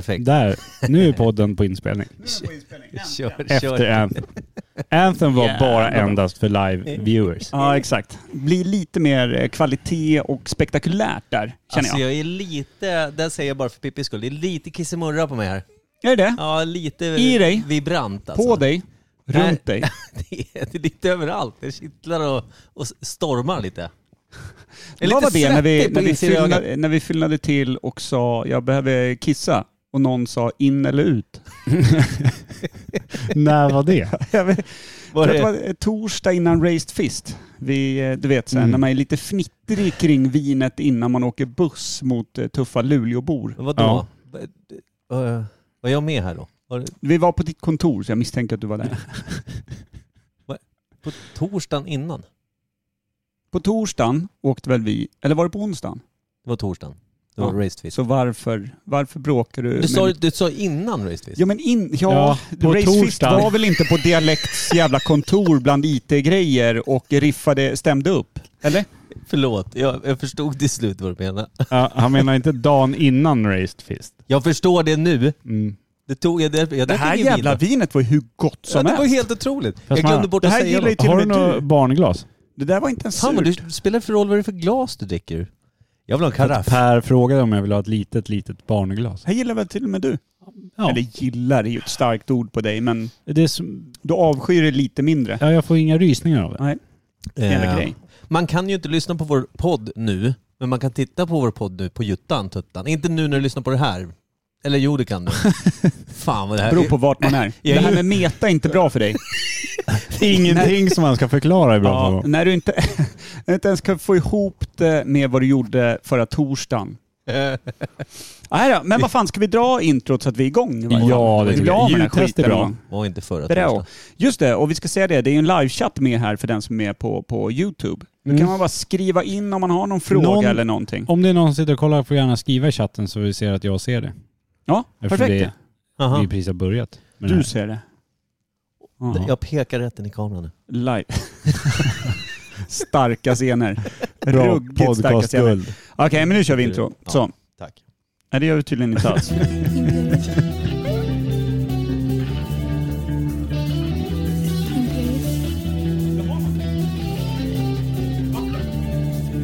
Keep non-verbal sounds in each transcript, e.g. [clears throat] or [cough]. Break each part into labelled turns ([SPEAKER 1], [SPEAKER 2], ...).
[SPEAKER 1] Perfekt.
[SPEAKER 2] Där, nu är podden på
[SPEAKER 3] [laughs]
[SPEAKER 2] inspelning.
[SPEAKER 1] Kör, kör.
[SPEAKER 2] Efter Anthem. Anthem var bara endast för live viewers.
[SPEAKER 3] Eh. Ja, exakt. Blir lite mer eh, kvalitet och spektakulärt där, känner
[SPEAKER 1] Alltså
[SPEAKER 3] jag.
[SPEAKER 1] jag är lite, det säger jag bara för Pippis skull, det är lite kissemurra på mig här.
[SPEAKER 3] Är det det?
[SPEAKER 1] Ja, lite
[SPEAKER 3] I dig?
[SPEAKER 1] vibrant alltså.
[SPEAKER 3] På dig?
[SPEAKER 1] Nej.
[SPEAKER 3] Runt [laughs] dig?
[SPEAKER 1] [laughs] Det är, det är lite överallt. Det kittlar och, och stormar lite. Det är
[SPEAKER 3] Vad var det när vi,
[SPEAKER 1] svettigt på
[SPEAKER 3] när, vi
[SPEAKER 1] insidan i ögat.
[SPEAKER 3] fyllnade, när vi fyllnade till och sa jag behöver kissa och någon sa in eller ut?
[SPEAKER 2] När var det?
[SPEAKER 3] Jag vet,
[SPEAKER 1] Var
[SPEAKER 3] tror att det
[SPEAKER 1] det,
[SPEAKER 3] var eh, torsdag innan Raised Fist. Vi, eh, du vet, så här,
[SPEAKER 2] Mm.
[SPEAKER 3] när man är lite fnittrig kring vinet innan man åker buss mot eh, tuffa Luleåbor.
[SPEAKER 1] vadå? Eh, Var jag med här då? Var det
[SPEAKER 3] Vi var på ditt kontor så jag misstänker att du var
[SPEAKER 1] Mm.
[SPEAKER 3] där.
[SPEAKER 1] på torsdagen innan?
[SPEAKER 3] På torsdagen åkte väl vi, eller var det på onsdagen?
[SPEAKER 1] Det var torsdagen. Det var
[SPEAKER 3] Ja. Eh,
[SPEAKER 1] raced fist.
[SPEAKER 3] Så varför, varför bråkar du?
[SPEAKER 1] Du
[SPEAKER 3] med
[SPEAKER 1] sa,
[SPEAKER 3] mitt-
[SPEAKER 1] du sa innan raced fist?
[SPEAKER 3] Ja men in, ja,
[SPEAKER 2] [laughs] Ja, på
[SPEAKER 3] Race Fist
[SPEAKER 2] torsdagen.
[SPEAKER 3] var väl inte på Dialekts jävla kontor bland IT-grejer och riffade, stämde upp? Eller?
[SPEAKER 1] Förlåt, jag, jag förstod till slut vad du menade.
[SPEAKER 2] Ja, han menar inte dagen innan Raised Fist.
[SPEAKER 1] Jag förstår det nu.
[SPEAKER 2] Mm.
[SPEAKER 1] Det, tog, jag, det, jag
[SPEAKER 3] Det
[SPEAKER 1] drack
[SPEAKER 3] här
[SPEAKER 1] ingen
[SPEAKER 3] jävla
[SPEAKER 1] vin.
[SPEAKER 3] vinet var ju hur gott
[SPEAKER 1] ja,
[SPEAKER 3] som
[SPEAKER 1] Det var
[SPEAKER 3] helst.
[SPEAKER 1] helt otroligt. jag
[SPEAKER 2] man-
[SPEAKER 1] glömde bort
[SPEAKER 3] det
[SPEAKER 1] att
[SPEAKER 3] här
[SPEAKER 1] säga
[SPEAKER 3] gillar ju
[SPEAKER 1] något.
[SPEAKER 3] till och
[SPEAKER 2] Har du
[SPEAKER 3] med
[SPEAKER 2] något
[SPEAKER 3] du.
[SPEAKER 2] barnglas?
[SPEAKER 3] Det där var inte ens
[SPEAKER 1] Fan, men
[SPEAKER 3] surt.
[SPEAKER 1] du spelar för roll vad det är för glas du dricker ur. Jag vill ha en karaff.
[SPEAKER 2] Per frågade om jag ville ha ett litet, litet barnglas.
[SPEAKER 3] Här gillar väl till och med du?
[SPEAKER 2] Ja,
[SPEAKER 3] Eller gillar är ju ett starkt ord på dig, men
[SPEAKER 2] det är som,
[SPEAKER 3] du avskyr det lite mindre.
[SPEAKER 2] ja, jag får inga rysningar av det.
[SPEAKER 3] Nej, det är en jävla
[SPEAKER 1] Eh,
[SPEAKER 3] grej.
[SPEAKER 1] Man kan ju inte lyssna på vår podd nu, men man kan titta på vår podd nu på Juttan Tuttan. Inte nu när du lyssnar på det här. Eller jo, det
[SPEAKER 3] [laughs]
[SPEAKER 1] kan du. Fan vad det här
[SPEAKER 3] Beror på vart man är.
[SPEAKER 1] jag
[SPEAKER 3] Det här
[SPEAKER 1] är-
[SPEAKER 3] med meta är inte bra för dig.
[SPEAKER 2] [laughs] Det är ingenting som man ska förklara ibland.
[SPEAKER 3] Ja,
[SPEAKER 2] Ja.
[SPEAKER 3] när du inte, [laughs] när du inte ens kan få ihop det med vad du gjorde
[SPEAKER 2] [laughs]
[SPEAKER 3] förra torsdagen. Nej då, men vad fan, ska vi dra introt så att vi är igång? i varje fall?
[SPEAKER 2] Ja, det
[SPEAKER 3] Vi
[SPEAKER 2] tycker
[SPEAKER 3] blir
[SPEAKER 2] jag.
[SPEAKER 3] av med den
[SPEAKER 2] Ljudtest
[SPEAKER 3] här
[SPEAKER 2] är
[SPEAKER 3] skiten
[SPEAKER 2] bra.
[SPEAKER 3] någon gång.
[SPEAKER 1] var inte förra
[SPEAKER 3] Bra.
[SPEAKER 1] torsdagen.
[SPEAKER 3] Just det, och vi ska säga det, det är ju en livechatt med här för den som är på, på Youtube. Då kan man bara skriva in om man har någon fråga
[SPEAKER 2] Mm. Någon-
[SPEAKER 3] eller någonting.
[SPEAKER 2] Om det är någon som sitter och kollar får gärna skriva i chatten så vi ser att jag ser det.
[SPEAKER 3] Ja,
[SPEAKER 2] Eftersom
[SPEAKER 3] perfekt.
[SPEAKER 2] det,
[SPEAKER 1] Aha.
[SPEAKER 2] vi precis har börjat. med det
[SPEAKER 3] Du
[SPEAKER 2] här.
[SPEAKER 3] ser det. Ja.
[SPEAKER 1] Jag pekar rätt in i kameran nu.
[SPEAKER 2] [laughs]
[SPEAKER 3] Live. starka scener.
[SPEAKER 2] Bra
[SPEAKER 3] Ruggigt starka scener.
[SPEAKER 2] podcastguld.
[SPEAKER 3] Okej, men nu kör vi intro.
[SPEAKER 1] Ja.
[SPEAKER 3] Så.
[SPEAKER 1] Tack.
[SPEAKER 3] Nej, det gör vi tydligen inte alls.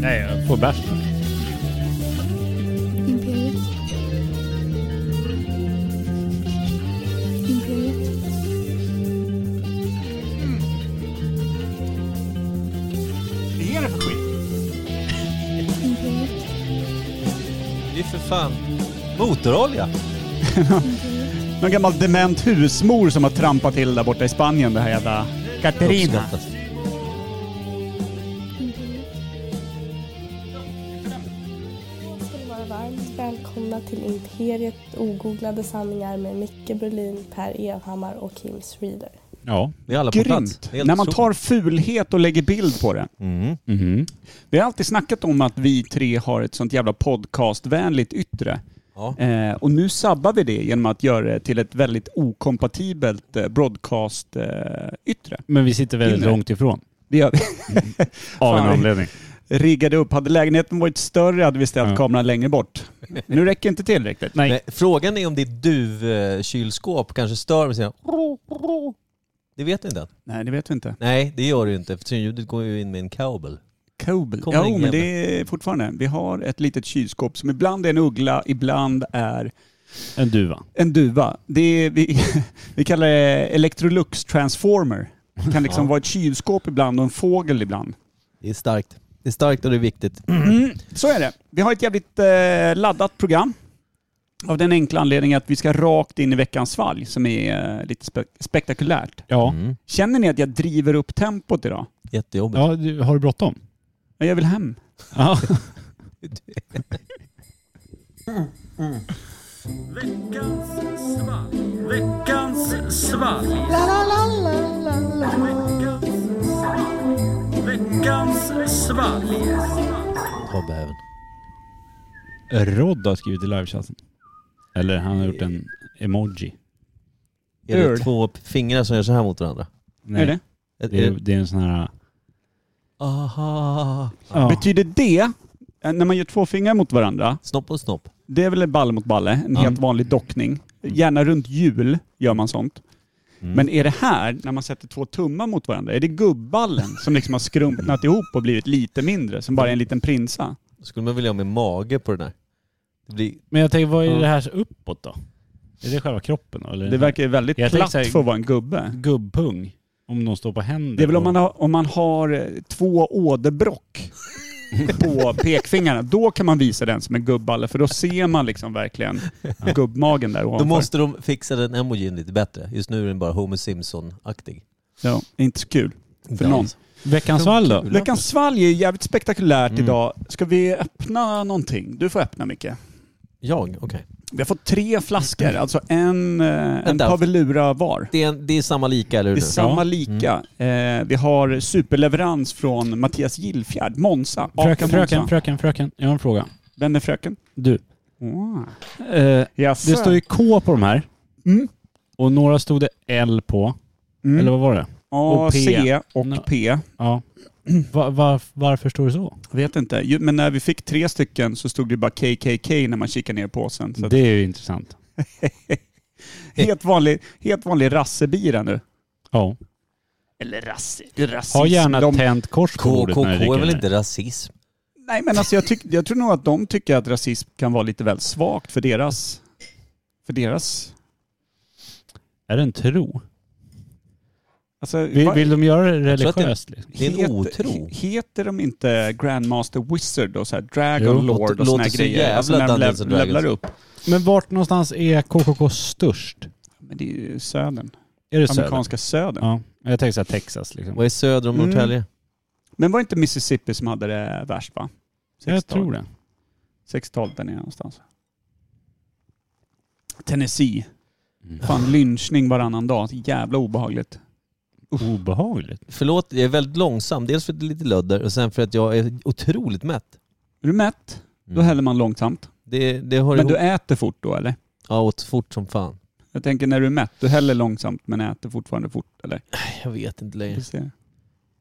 [SPEAKER 2] Nej, jag får bärs.
[SPEAKER 4] Imperiet. Imperiet.
[SPEAKER 3] det är det för skit?
[SPEAKER 4] Imperiet.
[SPEAKER 1] Det är för fan motorolja.
[SPEAKER 3] Någon gammal dement husmor som har trampat till där borta i Spanien, det här jävla... Katarina.
[SPEAKER 1] Uppskattas.
[SPEAKER 4] Imperiet.
[SPEAKER 5] ska ni vara varmt välkomna till Imperiet ogooglade sanningar med Micke Berlin, Per Evhammar och Kim Reader.
[SPEAKER 2] Ja.
[SPEAKER 1] Vi är alla på plats.
[SPEAKER 3] Grymt!
[SPEAKER 1] Det är helt
[SPEAKER 3] När man tar
[SPEAKER 1] otroligt.
[SPEAKER 3] fulhet och lägger bild på det.
[SPEAKER 1] Mm.
[SPEAKER 2] Mhm.
[SPEAKER 3] Vi har alltid snackat om att vi tre har ett sånt jävla podcastvänligt yttre.
[SPEAKER 1] Ja.
[SPEAKER 3] Eh, och nu sabbar vi det genom att göra det till ett väldigt okompatibelt eh, broadcast-yttre. Eh, yttre.
[SPEAKER 2] Men vi sitter väldigt
[SPEAKER 3] Inre.
[SPEAKER 2] långt ifrån.
[SPEAKER 3] det gör vi. [laughs]
[SPEAKER 2] Av en
[SPEAKER 3] Fan.
[SPEAKER 2] anledning.
[SPEAKER 3] Riggade upp. Hade lägenheten varit större hade vi ställt
[SPEAKER 2] Ja.
[SPEAKER 3] kameran längre bort. Nu räcker inte till riktigt.
[SPEAKER 2] Nej.
[SPEAKER 1] Men frågan är om ditt duvkylskåp kanske stör med sina... Det vet jag inte än.
[SPEAKER 3] Nej, det vet vi inte.
[SPEAKER 1] Nej, det gör det ju inte eftersom ljudet går ju in med en kabel.
[SPEAKER 3] Kobel.
[SPEAKER 1] Kommer
[SPEAKER 3] Ja,
[SPEAKER 1] ingen
[SPEAKER 3] men det är fortfarande. Vi har ett litet kylskåp som ibland är en uggla, ibland är
[SPEAKER 2] En duva.
[SPEAKER 3] En duva. Det är, vi, [laughs] vi kallar det Electrolux Transformer. Det kan liksom
[SPEAKER 1] Ja.
[SPEAKER 3] vara ett kylskåp ibland och en fågel ibland.
[SPEAKER 1] Det är starkt. Det är starkt och det är viktigt.
[SPEAKER 3] Mm, Så är det. Vi har ett jävligt eh, laddat program. Av den enkla anledningen att vi ska rakt in i veckans svalg som är eh, lite spe spektakulärt.
[SPEAKER 2] Ja.
[SPEAKER 1] Mm.
[SPEAKER 3] Känner ni att jag driver upp tempot idag?
[SPEAKER 1] Jättejobbigt.
[SPEAKER 2] ja du, har du bråttom?
[SPEAKER 3] Ja, Jag vill hem.
[SPEAKER 2] Ja.
[SPEAKER 1] Ta bäven.
[SPEAKER 2] Rod har skrivit i livechatten. Eller han har gjort en emoji.
[SPEAKER 1] Är det
[SPEAKER 3] Öl.
[SPEAKER 1] två fingrar som gör så här mot varandra?
[SPEAKER 2] Nej.
[SPEAKER 3] Är det?
[SPEAKER 1] Är-
[SPEAKER 2] Det, är,
[SPEAKER 1] är-
[SPEAKER 2] det är en sån här...
[SPEAKER 1] Aha.
[SPEAKER 2] Ja.
[SPEAKER 3] Betyder det eh, när man gör två fingrar mot varandra,
[SPEAKER 1] Snopp och snopp.
[SPEAKER 3] det är väl en balle mot balle, en
[SPEAKER 1] Ja.
[SPEAKER 3] helt vanlig dockning. Gärna runt jul gör man sånt.
[SPEAKER 1] Mm.
[SPEAKER 3] Men är det här, när man sätter två tummar mot varandra, är det gubballen som liksom har skrumpnat ihop och blivit lite mindre, som bara är en liten prinsa?
[SPEAKER 1] Skulle man vilja ha med mage på den här? Det blir...
[SPEAKER 2] Men jag tänker, vad är
[SPEAKER 1] Ja.
[SPEAKER 2] det här uppåt då? Är det själva kroppen då? Eller
[SPEAKER 3] Det verkar ju väldigt
[SPEAKER 2] Jag
[SPEAKER 3] platt
[SPEAKER 2] tänker så här-
[SPEAKER 3] för att vara en gubbe.
[SPEAKER 2] Gubbpung. Om de står på händer.
[SPEAKER 3] Det är väl om man
[SPEAKER 2] har...
[SPEAKER 3] har, om man har eh, två åderbrock på pekfingrarna, då kan man visa den som en gubballe för då ser man liksom verkligen gubbmagen där
[SPEAKER 1] Då
[SPEAKER 3] ovanför.
[SPEAKER 1] måste de fixa den emojin lite bättre. Just nu är den bara Homer Simpson-aktig.
[SPEAKER 3] Ja, inte så kul. För
[SPEAKER 1] Ja.
[SPEAKER 3] någon.
[SPEAKER 2] Veckans val då?
[SPEAKER 3] Veckans svalg är ju jävligt spektakulärt
[SPEAKER 2] Mm.
[SPEAKER 3] idag. Ska vi öppna någonting? Du får öppna Micke.
[SPEAKER 1] Jag? Okej.
[SPEAKER 3] Vi har fått tre flaskor, alltså en, eh, en
[SPEAKER 1] Vänta.
[SPEAKER 3] pavelura var.
[SPEAKER 1] Det, är en- det är samma lika, eller
[SPEAKER 3] Det
[SPEAKER 1] hur?
[SPEAKER 3] är samma lika. Eh, vi har superleverans från Mattias Gillfjärd, Monza. Aka
[SPEAKER 2] Fröken, fröken,
[SPEAKER 3] Monza.
[SPEAKER 2] fröken, fröken. Jag har en fråga.
[SPEAKER 3] Vem är fröken?
[SPEAKER 2] Du.
[SPEAKER 3] Wow.
[SPEAKER 2] Eh,
[SPEAKER 3] Jaså.
[SPEAKER 2] det står ju K på de här.
[SPEAKER 3] Mm.
[SPEAKER 2] Och några stod det L på.
[SPEAKER 3] Mm.
[SPEAKER 2] Eller vad var det?
[SPEAKER 3] A,
[SPEAKER 2] och P.
[SPEAKER 3] C och
[SPEAKER 2] No.
[SPEAKER 3] P.
[SPEAKER 2] Ja. Va, va, varför står det så?
[SPEAKER 3] Jag vet inte. Ju- Men när vi fick tre stycken så stod det bara KKK när man kikade ner i påsen. Så att,
[SPEAKER 2] Det är ju intressant.
[SPEAKER 3] helt, vanlig, helt vanlig rassebira nu.
[SPEAKER 2] Ja.
[SPEAKER 3] Eller rasse, rasism.
[SPEAKER 2] Ha gärna
[SPEAKER 3] de,
[SPEAKER 2] tänt kors på bordet
[SPEAKER 1] KKK
[SPEAKER 2] när du dricker
[SPEAKER 1] är väl
[SPEAKER 2] den här.
[SPEAKER 1] inte rasism?
[SPEAKER 3] Nej men alltså jag, tyck, jag tror nog att de tycker att rasism kan vara lite väl svagt för deras... För deras...
[SPEAKER 2] Är det en tro?
[SPEAKER 3] Alltså,
[SPEAKER 2] Vill,
[SPEAKER 3] va-
[SPEAKER 2] vill de göra det
[SPEAKER 1] Jag tror att det-
[SPEAKER 2] religiöst? liksom?
[SPEAKER 1] Det är en
[SPEAKER 3] heter-
[SPEAKER 1] otro.
[SPEAKER 3] Heter de inte Grandmaster Wizard och så här
[SPEAKER 2] Jo,
[SPEAKER 3] Dragon
[SPEAKER 2] låter-
[SPEAKER 3] Lord och såna
[SPEAKER 1] låter
[SPEAKER 3] här
[SPEAKER 1] så
[SPEAKER 3] grejer? Alltså
[SPEAKER 1] jävla
[SPEAKER 3] när de
[SPEAKER 1] Dungeons
[SPEAKER 3] lev,
[SPEAKER 1] and Dragons.
[SPEAKER 3] levlar upp.
[SPEAKER 2] Men vart någonstans är KKK störst?
[SPEAKER 3] Men det är ju södern.
[SPEAKER 2] Är det söder?
[SPEAKER 3] Amerikanska södern.
[SPEAKER 2] Ja. Jag tänker såhär Texas liksom.
[SPEAKER 1] Vad är söder om
[SPEAKER 3] Mm.
[SPEAKER 1] Norrtälje?
[SPEAKER 3] Men var det inte Mississippi som hade det värst va?
[SPEAKER 2] Jag tror det.
[SPEAKER 3] 60-talet där nere någonstans. Tennessee.
[SPEAKER 2] Mm.
[SPEAKER 3] Fan lynchning varannan dag. Jävla obehagligt.
[SPEAKER 2] Mm. Obehagligt.
[SPEAKER 1] Förlåt, jag är väldigt långsam. Dels för att det är lite lödder och sen för att jag är otroligt mätt.
[SPEAKER 3] Är du mätt, då häller man långsamt.
[SPEAKER 1] Det, det Mm. har
[SPEAKER 3] Men
[SPEAKER 1] ihop...
[SPEAKER 3] du äter fort då eller?
[SPEAKER 1] Ja, åt fort som fan.
[SPEAKER 3] Jag tänker när du är mätt, du häller långsamt men äter fortfarande fort eller?
[SPEAKER 1] Jag vet inte
[SPEAKER 3] Vi
[SPEAKER 1] längre.
[SPEAKER 3] ser.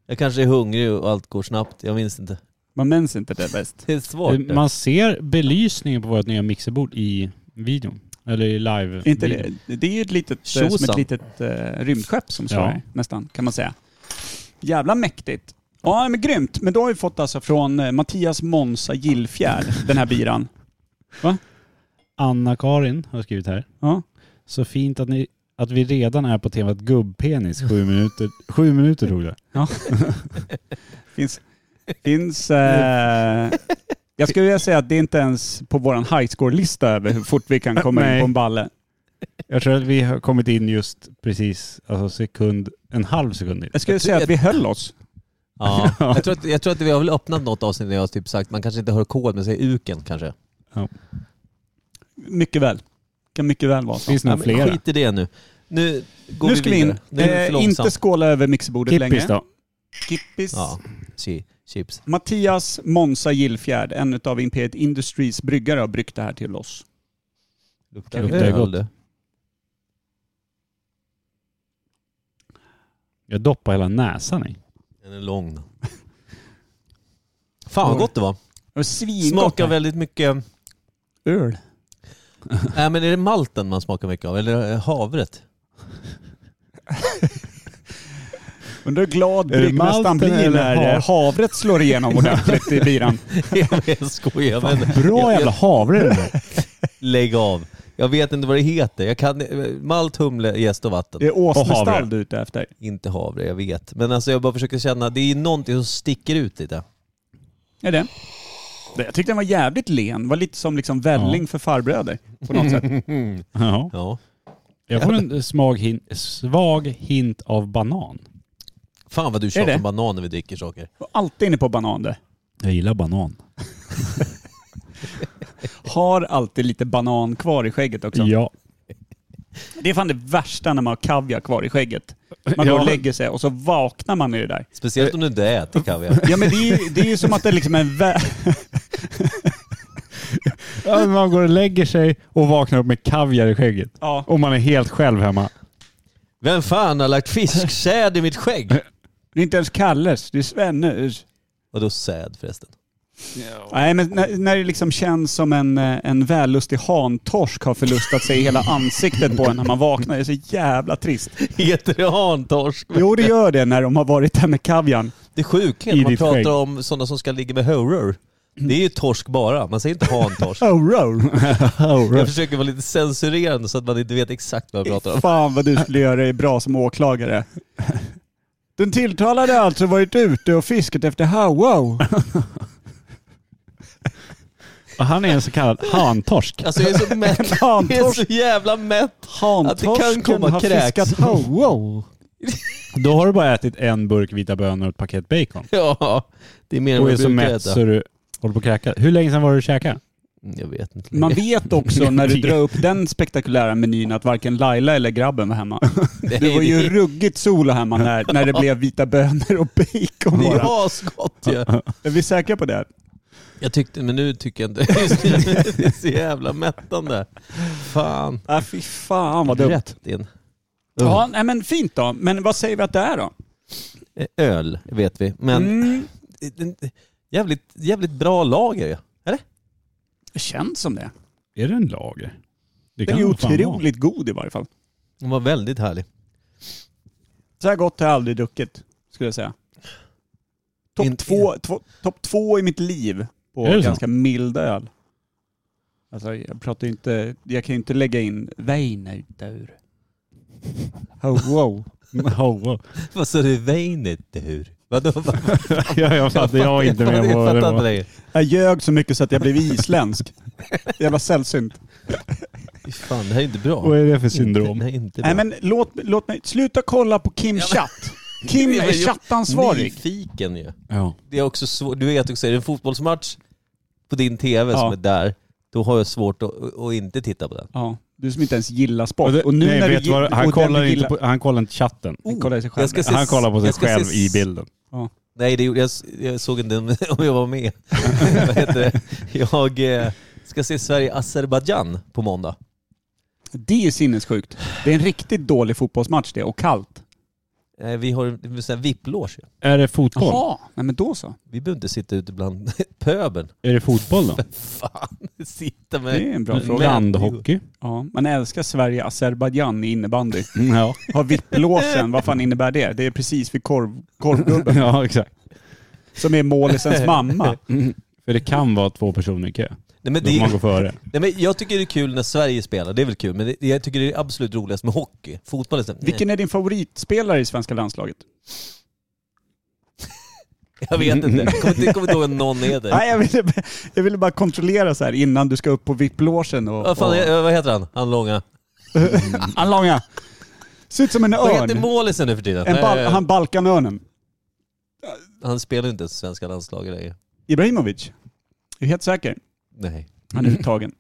[SPEAKER 1] Jag kanske är hungrig och allt går snabbt. Jag minns inte.
[SPEAKER 3] Man minns inte det bäst.
[SPEAKER 1] Det är svårt. det.
[SPEAKER 2] Eh, Man ser belysningen på vårt nya mixerbord i videon. Eller i live
[SPEAKER 3] Inte det, det är ju ett litet, eh, som ett
[SPEAKER 1] Tjosan.
[SPEAKER 3] litet eh, rymdskepp som står
[SPEAKER 2] Ja.
[SPEAKER 3] här nästan kan man säga. Jävla mäktigt. Ja men grymt. Men då har vi fått alltså från eh, Mattias Monza Gillfjärd, den här biran.
[SPEAKER 2] Anna-Karin har skrivit här.
[SPEAKER 3] Ja.
[SPEAKER 2] Så fint att, ni, att vi redan är på temat gubbpenis. Sju minuter, sju minuter tog det.
[SPEAKER 3] Finns... finns eh, jag skulle vilja säga att det är inte ens på vår high score-lista över hur fort vi kan komma in
[SPEAKER 2] Nej.
[SPEAKER 3] på en balle.
[SPEAKER 2] Jag tror att vi har kommit in just precis, alltså sekund, en halv sekund in.
[SPEAKER 3] Jag skulle
[SPEAKER 1] Jag tror-
[SPEAKER 3] säga att vi höll oss.
[SPEAKER 1] Ja. [laughs] Jag, tror att, jag tror att vi har väl öppnat något avsnitt där jag har typ sagt man kanske inte hör kod men säger uken kanske.
[SPEAKER 3] Mycket väl. Kan mycket väl vara så.
[SPEAKER 2] Finns det
[SPEAKER 1] Ja,
[SPEAKER 2] några
[SPEAKER 1] men
[SPEAKER 2] flera?
[SPEAKER 1] skit i det nu. Nu går
[SPEAKER 3] nu ska vi in.
[SPEAKER 1] vidare. Nu är det för
[SPEAKER 3] Eh,
[SPEAKER 1] långsamt.
[SPEAKER 3] inte skåla över mixerbordet
[SPEAKER 2] Kippis
[SPEAKER 3] längre.
[SPEAKER 2] då?
[SPEAKER 3] Kippis.
[SPEAKER 1] Ja, chi- chips.
[SPEAKER 3] Mattias Monza Gillfjärd, en av Imperiet Industries bryggare, har bryggt det här till oss.
[SPEAKER 1] Luktar,
[SPEAKER 2] Luktar
[SPEAKER 1] öl
[SPEAKER 2] gott.
[SPEAKER 1] det.
[SPEAKER 2] Jag doppar hela näsan i.
[SPEAKER 1] Den är lång. Fan vad gott det var.
[SPEAKER 3] Det var Svingott.
[SPEAKER 1] Smakar väldigt mycket...
[SPEAKER 3] öl.
[SPEAKER 1] Nej men är det malten man smakar mycket av? Eller eh, havret? [laughs]
[SPEAKER 3] Undrar hur glad
[SPEAKER 2] Är det
[SPEAKER 3] bryggmästaren
[SPEAKER 2] malten
[SPEAKER 3] blir
[SPEAKER 2] eller
[SPEAKER 3] när eh, havret slår igenom ordentligt i biran.
[SPEAKER 1] jag skojar [laughs] men...
[SPEAKER 2] Bra
[SPEAKER 1] jag,
[SPEAKER 2] jävla
[SPEAKER 1] jag,
[SPEAKER 2] havre den där.
[SPEAKER 1] Lägg av. Jag vet inte vad det heter. Jag kan... eh, Malt, humle, jäst och vatten.
[SPEAKER 3] Det är
[SPEAKER 2] Och havre.
[SPEAKER 3] åsnestall du är ute efter.
[SPEAKER 1] Inte havre, jag vet. Men alltså jag bara försöker känna, det är någonting som sticker ut lite.
[SPEAKER 3] Är det? Det- Jag tyckte den var jävligt len. Var lite som liksom välling för farbröder på något
[SPEAKER 2] [laughs]
[SPEAKER 3] sätt.
[SPEAKER 2] Ja.
[SPEAKER 1] Ja.
[SPEAKER 2] Jag får en smag hint, svag hint av banan.
[SPEAKER 1] Fan vad du
[SPEAKER 3] det?
[SPEAKER 1] tjatar om banan när vi dricker saker.
[SPEAKER 3] Och alltid inne på banan det.
[SPEAKER 2] Jag gillar banan.
[SPEAKER 3] Har alltid lite banan kvar i skägget också.
[SPEAKER 2] Ja.
[SPEAKER 3] Det är fan det värsta när man har kaviar kvar i skägget. Man går
[SPEAKER 2] Ja.
[SPEAKER 3] och lägger sig och så vaknar man i det där.
[SPEAKER 1] Speciellt om du inte äter
[SPEAKER 2] [laughs]
[SPEAKER 1] kaviar.
[SPEAKER 3] Ja men det är ju, det är ju som att det liksom är en vä-
[SPEAKER 2] Ja, men Man går och lägger sig och vaknar upp med kaviar i skägget.
[SPEAKER 3] Ja.
[SPEAKER 2] Och man är helt själv hemma.
[SPEAKER 1] Vem fan har lagt fisksäd i mitt skägg?
[SPEAKER 3] Det är inte ens Kalles, det är Svennes.
[SPEAKER 1] Vadå säd förresten?
[SPEAKER 3] Nej, men när, när det liksom känns som en, eh, en vällustig hantorsk har förlustat sig i hela ansiktet på en när man vaknar. Det är så jävla trist.
[SPEAKER 1] Heter det hantorsk?
[SPEAKER 3] Jo, det gör det när de har varit där med kavian.
[SPEAKER 1] Det sjuka är
[SPEAKER 2] I
[SPEAKER 1] när man
[SPEAKER 2] ditt
[SPEAKER 1] pratar
[SPEAKER 2] skägg.
[SPEAKER 1] om sådana som ska ligga med horror. Det är ju torsk bara, man säger inte hantorsk.
[SPEAKER 3] Oh, roll.
[SPEAKER 1] Jag försöker vara lite censurerande så att man inte vet exakt vad jag pratar
[SPEAKER 2] [laughs]
[SPEAKER 1] om.
[SPEAKER 3] Fan vad du skulle göra dig bra som åklagare. Den tilltalade har alltså varit ute och fiskat efter Howwow.
[SPEAKER 2] Och han är en så kallad hantorsk.
[SPEAKER 1] Alltså jag är så mätt. [laughs] Jag är
[SPEAKER 3] Hantorsk.
[SPEAKER 1] så jävla mätt. [laughs] Att det kan
[SPEAKER 3] Hantorsken
[SPEAKER 1] komma
[SPEAKER 3] har
[SPEAKER 1] kräks.
[SPEAKER 3] fiskat Howwow.
[SPEAKER 2] Då har du bara ätit en burk vita bönor och ett paket bacon.
[SPEAKER 1] Ja, det är mer än
[SPEAKER 2] Och
[SPEAKER 1] vad
[SPEAKER 2] är så
[SPEAKER 1] jag brukar
[SPEAKER 2] mätt
[SPEAKER 1] äta.
[SPEAKER 2] så
[SPEAKER 1] Mm,
[SPEAKER 2] du håller på att kräkas. Hur länge sedan var det du käkade?
[SPEAKER 1] Jag vet inte.
[SPEAKER 3] Man vet också när du drar upp den spektakulära menyn att varken Laila eller grabben var hemma.
[SPEAKER 1] Nej,
[SPEAKER 3] Det var
[SPEAKER 1] det
[SPEAKER 3] ju
[SPEAKER 1] är-
[SPEAKER 3] ruggigt sol hemma när, när det blev vita bönor och bacon
[SPEAKER 1] Det är ju
[SPEAKER 3] bara.
[SPEAKER 2] [laughs]
[SPEAKER 1] asgott ju.
[SPEAKER 3] Är vi säkra på det?
[SPEAKER 1] Jag tyckte, men nu tycker jag inte [laughs] det. är så jävla mättande. Fan.
[SPEAKER 3] Ja, Ah, fy fan vad dumt.
[SPEAKER 1] Rätt in.
[SPEAKER 3] Ja, nej, men fint då. Men vad säger vi att det är då?
[SPEAKER 1] Öl vet vi, men
[SPEAKER 3] Mm,
[SPEAKER 1] jävligt, jävligt bra lager. ja.
[SPEAKER 3] det känns som det.
[SPEAKER 2] Är det en lager? Det
[SPEAKER 3] Den är
[SPEAKER 2] nog fan vara.
[SPEAKER 3] otroligt god i varje fall.
[SPEAKER 1] Den var väldigt härlig.
[SPEAKER 3] Så här gott har jag aldrig druckit, skulle jag säga. Topp
[SPEAKER 1] Inte-
[SPEAKER 3] två, två, top två i mitt liv på
[SPEAKER 2] Är det så?
[SPEAKER 3] ganska mild öl. Alltså jag pratar ju inte, jag kan ju inte lägga in Weiner ur. Ho, ho.
[SPEAKER 2] Oh, wow.
[SPEAKER 1] Vad sa du? Veinet hur? Vadå? [laughs] Vad-
[SPEAKER 2] ja, jag fattar. Jag var inte
[SPEAKER 1] fattar-
[SPEAKER 2] med
[SPEAKER 1] jag
[SPEAKER 2] på vad
[SPEAKER 1] fattar
[SPEAKER 2] det var.
[SPEAKER 1] inte längre.
[SPEAKER 3] Jag ljög så mycket så att jag blev isländsk. Jävla sällsynt.
[SPEAKER 1] Fy Fan, det här är inte bra.
[SPEAKER 2] Vad är det för
[SPEAKER 1] Inte,
[SPEAKER 2] syndrom?
[SPEAKER 1] det här är inte bra.
[SPEAKER 3] Nej men låt, låt mig, sluta kolla på Kim Chatt. Kim
[SPEAKER 1] Ja, men
[SPEAKER 3] är
[SPEAKER 1] [laughs] jag-
[SPEAKER 3] chattansvarig.
[SPEAKER 1] Nyfiken ju.
[SPEAKER 2] Ja.
[SPEAKER 1] Det är också svårt. Du vet också, är det en fotbollsmatch på din tv
[SPEAKER 3] Ja.
[SPEAKER 1] som är där, då har jag svårt att, att inte titta på den.
[SPEAKER 3] Ja, du som inte ens gillar sport.
[SPEAKER 2] Och det,
[SPEAKER 3] Och nu
[SPEAKER 2] nej,
[SPEAKER 3] när du
[SPEAKER 2] vet du
[SPEAKER 3] gill-
[SPEAKER 2] vad, han,
[SPEAKER 3] och den du
[SPEAKER 2] kollar inte
[SPEAKER 3] gillar- Oh,
[SPEAKER 2] på, han kollar inte chatten.
[SPEAKER 3] Han kollar i sig själv.
[SPEAKER 1] Jag ska se-
[SPEAKER 2] Han kollar på sig
[SPEAKER 1] jag ska se-
[SPEAKER 2] själv i bilden.
[SPEAKER 1] Nej, det gjorde, jag, jag såg inte den om [laughs] jag var
[SPEAKER 3] [laughs]
[SPEAKER 1] med. Vad heter det? Jag eh, ska se Sverige-Azerbajdzjan på måndag.
[SPEAKER 3] Det är sinnessjukt. Det är en riktigt dålig fotbollsmatch det, och kallt.
[SPEAKER 1] Eh, Vi har en sån här VIP-loge.
[SPEAKER 2] Är det fotboll?
[SPEAKER 3] Jaha, nej men då så.
[SPEAKER 1] Vi behöver inte sitta ute bland [laughs] pöbeln.
[SPEAKER 2] Är det fotboll då?
[SPEAKER 1] Fan, sitta med...
[SPEAKER 3] Det är en bra
[SPEAKER 1] Men-
[SPEAKER 3] fråga.
[SPEAKER 2] Landhockey?
[SPEAKER 3] Ja, man älskar Sverige, Azerbajdzjan i innebandy.
[SPEAKER 2] Mm, Ja.
[SPEAKER 3] Har VIP-låsen, vad fan innebär det? Det är precis vid korv, korvgubben
[SPEAKER 2] ja, [laughs] exakt.
[SPEAKER 3] som är
[SPEAKER 1] [laughs]
[SPEAKER 3] målisens mamma.
[SPEAKER 2] För det kan vara två personer i kö.
[SPEAKER 1] Nej, men
[SPEAKER 2] Då
[SPEAKER 1] det,
[SPEAKER 2] får man gå före.
[SPEAKER 1] nej, men jag tycker det är kul när Sverige spelar, det är väl kul. Men det, jag tycker det är absolut roligast med hockey. Fotboll är så,
[SPEAKER 3] Vilken är din favoritspelare i svenska landslaget?
[SPEAKER 1] nej, Jag vet inte. Jag kommer inte, jag kommer inte ihåg om någon är det.
[SPEAKER 3] Nej, jag ville, jag ville bara kontrollera så här innan du ska upp på VIP-låsen och...
[SPEAKER 1] Vad, fan,
[SPEAKER 3] och...
[SPEAKER 1] eh, vad heter han? Han långa.
[SPEAKER 3] Han långa. Ser ut som en
[SPEAKER 1] Vad heter Eh.
[SPEAKER 3] örn.
[SPEAKER 1] målisen nu för tiden?
[SPEAKER 3] En bal
[SPEAKER 1] Nej,
[SPEAKER 3] han Balkanörnen.
[SPEAKER 1] han spelar ju inte i svenska landslaget längre.
[SPEAKER 3] Ibrahimovic. Jag är helt säker.
[SPEAKER 1] Nej.
[SPEAKER 3] Han är uttagen.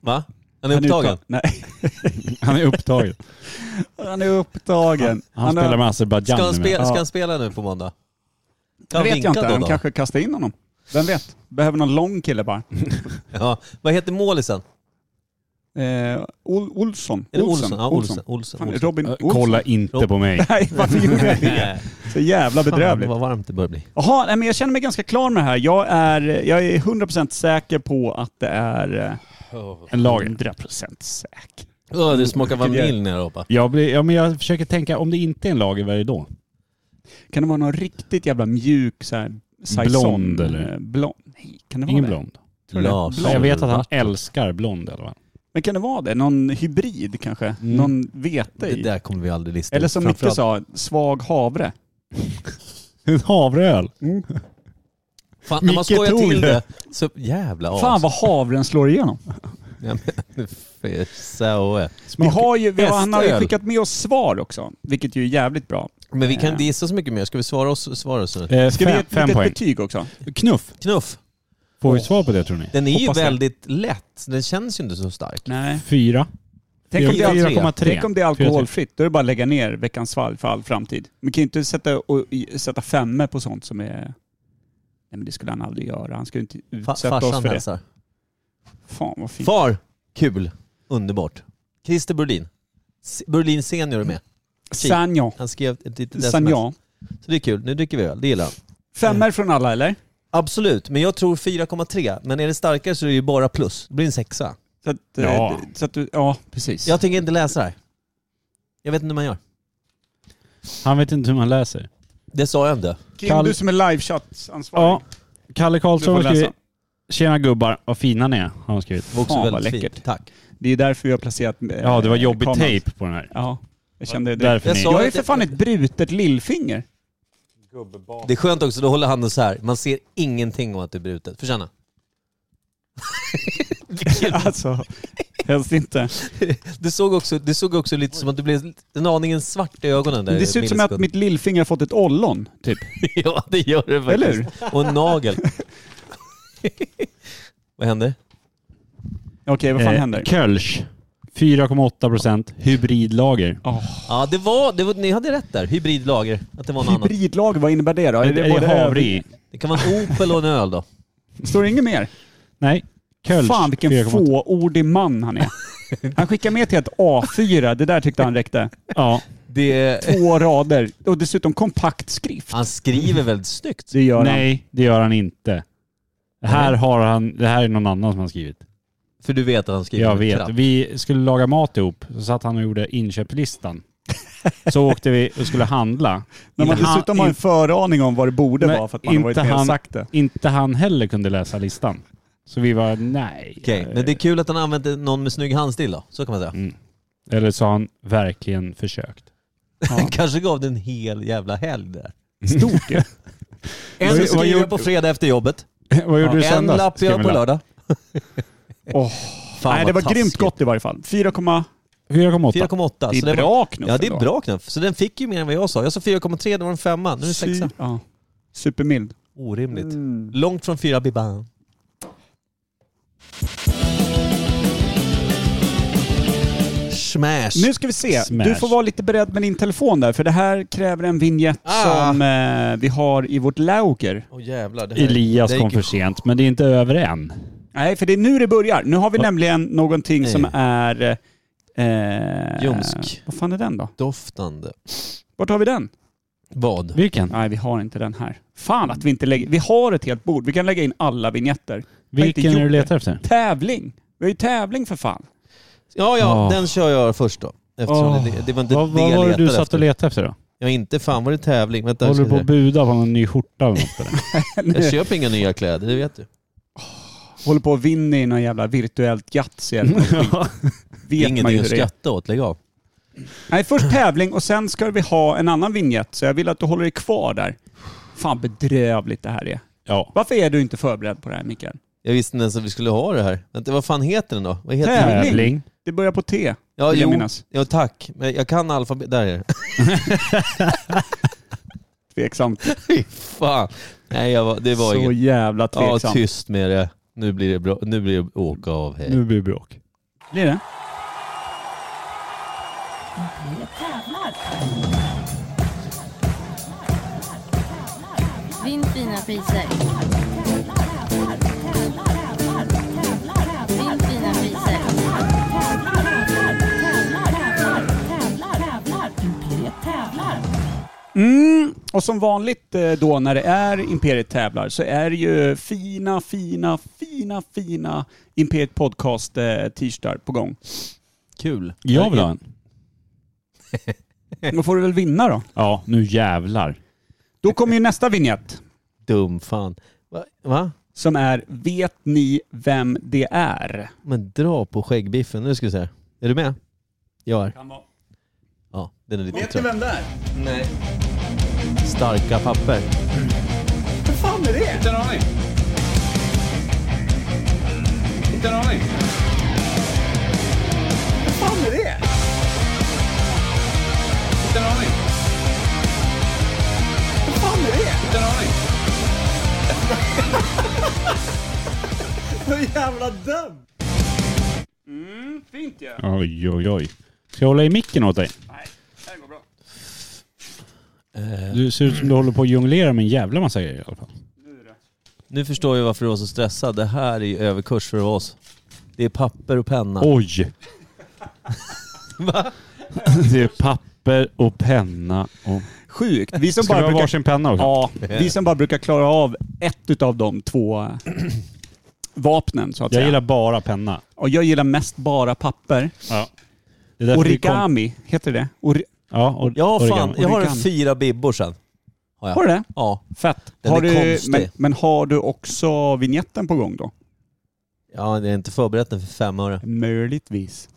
[SPEAKER 1] Va? Han Mm. är upptagen?
[SPEAKER 3] uttag- Nej,
[SPEAKER 2] Han är
[SPEAKER 3] [laughs]
[SPEAKER 2] upptagen.
[SPEAKER 3] han är upptagen.
[SPEAKER 2] Han,
[SPEAKER 3] har-
[SPEAKER 2] spelar med Azerbajdzjan.
[SPEAKER 1] Ska han,
[SPEAKER 2] nu.
[SPEAKER 1] spela,
[SPEAKER 3] Ja.
[SPEAKER 1] ska han spela nu på måndag?
[SPEAKER 3] Det
[SPEAKER 1] Kan
[SPEAKER 3] vet jag
[SPEAKER 1] vinka
[SPEAKER 3] inte.
[SPEAKER 1] då,
[SPEAKER 3] De
[SPEAKER 1] då?
[SPEAKER 3] kanske kastar in honom. Vem vet? Behöver någon lång kille bara.
[SPEAKER 1] Ja. Vad heter målisen?
[SPEAKER 3] Eh, Ol Olsson.
[SPEAKER 1] Är det Olsen? Ja, Olsen. Olsen.
[SPEAKER 3] Fan,
[SPEAKER 1] Olsen.
[SPEAKER 3] Robin
[SPEAKER 2] Äh,
[SPEAKER 3] Olsson.
[SPEAKER 2] Kolla inte på mig.
[SPEAKER 3] [laughs] Nej, varför gjorde jag det?
[SPEAKER 1] Nej.
[SPEAKER 3] Så jävla
[SPEAKER 1] Fan,
[SPEAKER 3] bedrövligt.
[SPEAKER 1] vad varmt det börjar bli.
[SPEAKER 3] Jaha, nej, men jag känner mig ganska klar med det här. Jag är, jag är 100% säker på att det är...
[SPEAKER 2] En
[SPEAKER 3] eh,
[SPEAKER 2] lager.
[SPEAKER 3] 100% säker.
[SPEAKER 1] Åh, det smakar vanilj när jag hoppar.
[SPEAKER 2] Jag, blir, ja, men jag försöker tänka, om det inte är en lager, vad är det då?
[SPEAKER 3] Kan det vara någon riktigt jävla mjuk så här, saison?
[SPEAKER 2] Blond, eller?
[SPEAKER 3] Eh, Blond? Nej, kan det vara
[SPEAKER 2] Ingen
[SPEAKER 3] det?
[SPEAKER 2] blond.
[SPEAKER 3] Tror du det?
[SPEAKER 1] Lars.
[SPEAKER 2] Jag vet att han älskar blond i alla fall.
[SPEAKER 3] Men kan det vara det? Någon hybrid kanske? Någon vete
[SPEAKER 1] Det
[SPEAKER 3] i?
[SPEAKER 1] där kommer vi aldrig lista
[SPEAKER 3] Eller
[SPEAKER 1] ut.
[SPEAKER 3] som Micke
[SPEAKER 1] Framförallt-
[SPEAKER 3] sa, svag havre.
[SPEAKER 2] [laughs] En havreöl.
[SPEAKER 1] Fan, när man
[SPEAKER 2] Micke
[SPEAKER 1] skojar
[SPEAKER 2] tog
[SPEAKER 1] till det.
[SPEAKER 2] det.
[SPEAKER 1] Så, jävla as.
[SPEAKER 3] Fan vad havren slår igenom.
[SPEAKER 1] Ja, men, fy, så är.
[SPEAKER 3] [laughs] Vi har ju, vi har, han har ju
[SPEAKER 1] Hästöl.
[SPEAKER 3] skickat med oss svar också, vilket ju är jävligt bra.
[SPEAKER 1] Men vi kan inte gissa så mycket mer. Ska vi svara oss? Svara oss nu?
[SPEAKER 2] Eh,
[SPEAKER 3] Ska vi ge
[SPEAKER 2] fem,
[SPEAKER 3] ett
[SPEAKER 2] fem
[SPEAKER 3] litet
[SPEAKER 2] poäng.
[SPEAKER 3] betyg också?
[SPEAKER 2] Knuff.
[SPEAKER 1] Knuff.
[SPEAKER 2] Får vi svar på det tror ni?
[SPEAKER 1] Den är ju
[SPEAKER 3] Hoppas det.
[SPEAKER 1] väldigt lätt. Den känns ju inte så stark.
[SPEAKER 3] Nej.
[SPEAKER 2] Fyra.
[SPEAKER 3] Tänk om, det är,
[SPEAKER 1] Fyra.
[SPEAKER 3] alkohol-
[SPEAKER 2] 4,3.
[SPEAKER 3] tänk om det är
[SPEAKER 2] 4,3.
[SPEAKER 3] alkoholfritt, då är det bara att lägga ner veckans fall för all framtid. Man kan ju inte sätta, och, i- sätta femme på sånt som är... Nej men det skulle han aldrig göra. Han skulle inte
[SPEAKER 1] Fa
[SPEAKER 3] utsätta oss
[SPEAKER 1] farsan
[SPEAKER 3] för det.
[SPEAKER 1] hälsar.
[SPEAKER 3] Fan vad fint.
[SPEAKER 1] Far, kul. Underbart. Christer Burlin. S- Burlin senior är med.
[SPEAKER 3] Sagnon.
[SPEAKER 1] Han skrev ett litet sms.
[SPEAKER 3] Sagnon.
[SPEAKER 1] Så det är kul. Nu dricker vi öl. Det gillar han.
[SPEAKER 3] Femmer från alla eller?
[SPEAKER 1] Absolut, men jag tror 4,3. Men är det starkare så är det ju bara plus. Det blir en sexa.
[SPEAKER 3] Så att, eh,
[SPEAKER 6] Ja.
[SPEAKER 3] så att du, ja precis.
[SPEAKER 1] Jag tänker inte läsa det här. Jag vet inte hur man gör.
[SPEAKER 2] Han vet inte hur man läser.
[SPEAKER 1] Det sa jag inte.
[SPEAKER 3] Kim,
[SPEAKER 2] Kall-
[SPEAKER 3] du som är livechattansvarig.
[SPEAKER 2] Ja, Kalle
[SPEAKER 3] du får
[SPEAKER 2] Karlsson har
[SPEAKER 3] läsa.
[SPEAKER 2] skrivit Tjena gubbar, vad fina ni är, har han skrivit.
[SPEAKER 1] Det var också
[SPEAKER 3] Fan, vad
[SPEAKER 1] väldigt
[SPEAKER 3] läckert.
[SPEAKER 1] fint. Tack.
[SPEAKER 3] Det är därför vi har placerat eh,
[SPEAKER 2] Ja, det var jobbig
[SPEAKER 3] kameran.
[SPEAKER 2] tejp på den här.
[SPEAKER 3] Ja, jag kände det.
[SPEAKER 2] Därför
[SPEAKER 1] Jag
[SPEAKER 2] ni...
[SPEAKER 1] sa-
[SPEAKER 3] Jag är för fan ett brutet lillfinger.
[SPEAKER 1] Det är skönt också, då håller handen så här. Man ser ingenting om att det är brutet. Förtjäna.
[SPEAKER 3] [laughs] alltså, helst inte.
[SPEAKER 1] Det såg också, det såg också lite som att du blev en aningen svart i ögonen där
[SPEAKER 3] Det
[SPEAKER 1] i
[SPEAKER 3] ser ut som att
[SPEAKER 1] millisekund.
[SPEAKER 3] mitt lillfinger har fått ett ollon, typ.
[SPEAKER 1] [laughs] Ja, det gör det faktiskt.
[SPEAKER 3] Eller hur?
[SPEAKER 1] Och en nagel. [laughs] Vad händer?
[SPEAKER 3] Okej, vad fan
[SPEAKER 2] eh,
[SPEAKER 3] händer?
[SPEAKER 2] Kölsch. 4,8% hybridlager.
[SPEAKER 1] Ja, det var, det var, ni hade rätt där. Hybridlager. Att det var något annat.
[SPEAKER 3] Hybridlag, vad innebär det då?
[SPEAKER 2] Är det,
[SPEAKER 3] både
[SPEAKER 2] havre
[SPEAKER 3] över-
[SPEAKER 2] i?
[SPEAKER 1] Det kan vara en Opel och en öl då.
[SPEAKER 3] Står det inget mer?
[SPEAKER 2] Nej. Kölsch.
[SPEAKER 3] Fan vilken
[SPEAKER 2] 4,8.
[SPEAKER 3] fåordig man han är. Han skickar med till ett A4, det där tyckte han räckte.
[SPEAKER 2] Ja.
[SPEAKER 1] Det,
[SPEAKER 3] Två rader och dessutom kompakt
[SPEAKER 1] [laughs]
[SPEAKER 3] skrift.
[SPEAKER 1] han skriver väldigt snyggt.
[SPEAKER 3] Det gör han.
[SPEAKER 2] Nej, det gör han inte. Det här, har han, det här är någon annan som har skrivit.
[SPEAKER 1] För du vet att han skriver
[SPEAKER 2] Jag
[SPEAKER 1] med
[SPEAKER 2] vet.
[SPEAKER 1] kraft.
[SPEAKER 2] Vi skulle laga mat ihop, så satt han och gjorde inköpslistan. Så åkte vi och skulle
[SPEAKER 1] [laughs]
[SPEAKER 2] handla.
[SPEAKER 3] När man
[SPEAKER 2] Inte han-
[SPEAKER 3] dessutom har en föraning om vad det borde
[SPEAKER 2] Nej,
[SPEAKER 3] vara för att man har varit
[SPEAKER 2] inte
[SPEAKER 3] med och
[SPEAKER 2] han.
[SPEAKER 3] sagt det.
[SPEAKER 2] Inte han heller kunde läsa listan. Så vi var nej.
[SPEAKER 1] Okej, men det är kul att han använder någon med snygg handstil då. Så kan man säga.
[SPEAKER 2] Mm. Eller så har han verkligen försökt. [laughs]
[SPEAKER 1] Han [laughs] kanske gav det en hel jävla helg där.
[SPEAKER 3] Stort ju.
[SPEAKER 1] [laughs]
[SPEAKER 2] Vad-
[SPEAKER 1] En som
[SPEAKER 2] vad
[SPEAKER 1] skriver
[SPEAKER 2] gjorde-
[SPEAKER 1] på fredag efter jobbet.
[SPEAKER 2] Vad gjorde du
[SPEAKER 1] en
[SPEAKER 2] söndags?
[SPEAKER 1] lapp jag
[SPEAKER 2] Skrev en
[SPEAKER 1] på lördag.
[SPEAKER 3] Åh.
[SPEAKER 1] Fan
[SPEAKER 3] Nej, det
[SPEAKER 1] vad
[SPEAKER 3] var grymt
[SPEAKER 1] taskigt.
[SPEAKER 3] gott i varje fall. 4,8.
[SPEAKER 2] 4,8.
[SPEAKER 1] 4,8.
[SPEAKER 3] Det
[SPEAKER 1] så det
[SPEAKER 3] är
[SPEAKER 1] var-
[SPEAKER 3] bra knuff.
[SPEAKER 1] Ja det är
[SPEAKER 3] ändå.
[SPEAKER 1] bra knuff. Så den fick ju mer än vad jag sa. Jag sa 4,3, det var en femma. Nu är det
[SPEAKER 3] Sy-
[SPEAKER 1] sexa. Mm.
[SPEAKER 3] Ja. Supermild.
[SPEAKER 1] Orimligt.
[SPEAKER 2] Mm.
[SPEAKER 1] Långt från fyra Biban. Smash.
[SPEAKER 3] Nu ska vi se.
[SPEAKER 2] Smash.
[SPEAKER 3] Du får vara lite beredd med din telefon där, för det här kräver en vignett
[SPEAKER 1] Ah.
[SPEAKER 3] som eh, vi har i vårt lauger.
[SPEAKER 1] Åh jävlar. Det här-
[SPEAKER 2] Elias
[SPEAKER 1] Alltså, det
[SPEAKER 2] kom
[SPEAKER 1] gick ju-
[SPEAKER 2] för sent, men det är inte över än.
[SPEAKER 3] Nej, för det är nu det börjar. Nu har vi nämligen någonting som
[SPEAKER 1] Nej.
[SPEAKER 3] är... Eh,
[SPEAKER 1] Ljumsk.
[SPEAKER 3] Vad fan är den då?
[SPEAKER 1] Doftande.
[SPEAKER 3] Vart har vi den?
[SPEAKER 1] Vad?
[SPEAKER 2] Vilken?
[SPEAKER 3] Nej, vi har inte den här. Fan att vi inte lägger... Vi har ett helt bord. Vi kan lägga in alla vignetter. Jag har inte
[SPEAKER 2] Vilken är du
[SPEAKER 3] gjort
[SPEAKER 2] letar efter?
[SPEAKER 3] det. Tävling! Vi har ju tävling för fan.
[SPEAKER 1] Ja, ja,
[SPEAKER 2] Åh.
[SPEAKER 1] den kör jag först då. Eftersom
[SPEAKER 2] Åh.
[SPEAKER 1] det, det var inte
[SPEAKER 2] Ah. Vad,
[SPEAKER 1] det
[SPEAKER 2] vad
[SPEAKER 1] jag
[SPEAKER 2] var det du
[SPEAKER 1] letade
[SPEAKER 2] satt
[SPEAKER 1] efter.
[SPEAKER 2] och letade efter då?
[SPEAKER 1] Ja, inte fan var det tävling. Vänta, jag,
[SPEAKER 2] Håller
[SPEAKER 1] ska
[SPEAKER 2] du på
[SPEAKER 1] se.
[SPEAKER 2] att buda på någon ny skjorta eller något? eller?
[SPEAKER 1] [laughs] jag köper inga nya kläder, det vet du.
[SPEAKER 3] Håller på att vinna i någon jävla virtuellt Yatzy eller något skit.
[SPEAKER 1] Det är
[SPEAKER 3] Vet man
[SPEAKER 1] ingenting
[SPEAKER 3] ju hur
[SPEAKER 1] Mm. att
[SPEAKER 3] det är.
[SPEAKER 1] skratta åt, lägg av.
[SPEAKER 3] Nej, först tävling och sen ska vi ha en annan vignett. Så jag vill att du håller dig kvar där. Fan bedrövligt det här är.
[SPEAKER 2] Ja.
[SPEAKER 3] Varför är du inte förberedd på det här Mikael?
[SPEAKER 1] Jag visste inte ens att vi skulle ha det här. Vänta, vad fan heter den då? Vad heter den?
[SPEAKER 3] Tävling.
[SPEAKER 2] Tävling.
[SPEAKER 3] Det börjar på T.
[SPEAKER 1] Ja,
[SPEAKER 3] vill
[SPEAKER 1] jo.
[SPEAKER 3] jag minnas.
[SPEAKER 1] Ja, tack. Men jag kan alfabet. Där är det. [laughs]
[SPEAKER 3] Tveksamt.
[SPEAKER 1] Fy fan. Nej, jag var, det var
[SPEAKER 3] Så
[SPEAKER 1] inget.
[SPEAKER 3] jävla
[SPEAKER 1] Ja,
[SPEAKER 3] tveksamt.
[SPEAKER 1] tyst med det. Nu blir det bra. Nu blir det åka av. Hej.
[SPEAKER 2] Nu blir det bråk.
[SPEAKER 3] Blir det?
[SPEAKER 7] Vinn fina priser. Vinn fina priser.
[SPEAKER 3] Mm. Och som vanligt eh, då när det är Imperiet tävlar så är det ju fina, fina, fina, fina Imperiet Podcast eh, t-shirtar på gång.
[SPEAKER 1] Kul.
[SPEAKER 2] Jag vill ha en.
[SPEAKER 3] Då får du väl vinna då.
[SPEAKER 2] Ja, nu jävlar.
[SPEAKER 3] Då kommer ju nästa vignett
[SPEAKER 1] Dum fan. Va? Va?
[SPEAKER 3] som är Vet ni vem det är?
[SPEAKER 1] Men dra på skäggbiffen. Nu ska vi se. här. Är du med? Jag är. Ja, den är lite trött.
[SPEAKER 3] vem det är?
[SPEAKER 1] Nej. Starka papper.
[SPEAKER 3] Vad fan är det?
[SPEAKER 8] Inte en aning. Inte en aning.
[SPEAKER 3] Vad fan är det?
[SPEAKER 8] Inte en aning.
[SPEAKER 3] Vad fan är det?
[SPEAKER 8] Inte en
[SPEAKER 3] [laughs]
[SPEAKER 8] aning.
[SPEAKER 3] Så jävla dum! Mm, fint ju. Ja.
[SPEAKER 2] Oj, oj, oj. Ska jag hålla i micken åt dig?
[SPEAKER 3] Det här går bra.
[SPEAKER 2] Du ser ut som du håller på att jonglera med en jävla massa grejer i alla fall.
[SPEAKER 1] Nu förstår jag varför du var så stressad. Det här är ju överkurs för oss. Det är papper och penna.
[SPEAKER 2] Oj! Det är papper och penna och...
[SPEAKER 3] sjukt. Vi som,
[SPEAKER 2] Ska vi
[SPEAKER 3] bara
[SPEAKER 2] ha
[SPEAKER 3] brukar,
[SPEAKER 2] varsin penna också?
[SPEAKER 3] ja, vi som bara brukar klara av ett utav de två eh, vapnen så att
[SPEAKER 2] Jag
[SPEAKER 3] säga.
[SPEAKER 2] gillar bara penna.
[SPEAKER 3] Och jag gillar mest bara papper.
[SPEAKER 2] Det är därför vi kom-
[SPEAKER 3] Origami, heter det? Ori-
[SPEAKER 2] Ja, or,
[SPEAKER 1] Jag har, fan,
[SPEAKER 2] origami.
[SPEAKER 1] jag har en
[SPEAKER 3] Origami.
[SPEAKER 1] fyra bibbor sen. jag.
[SPEAKER 3] har du det?
[SPEAKER 1] Ja.
[SPEAKER 3] Fett.
[SPEAKER 1] Den är
[SPEAKER 3] har du,
[SPEAKER 1] konstig.
[SPEAKER 3] men, men har du också vignetten på gång då?
[SPEAKER 1] ja, det är inte förberett den för fem öre.
[SPEAKER 3] Möjligtvis.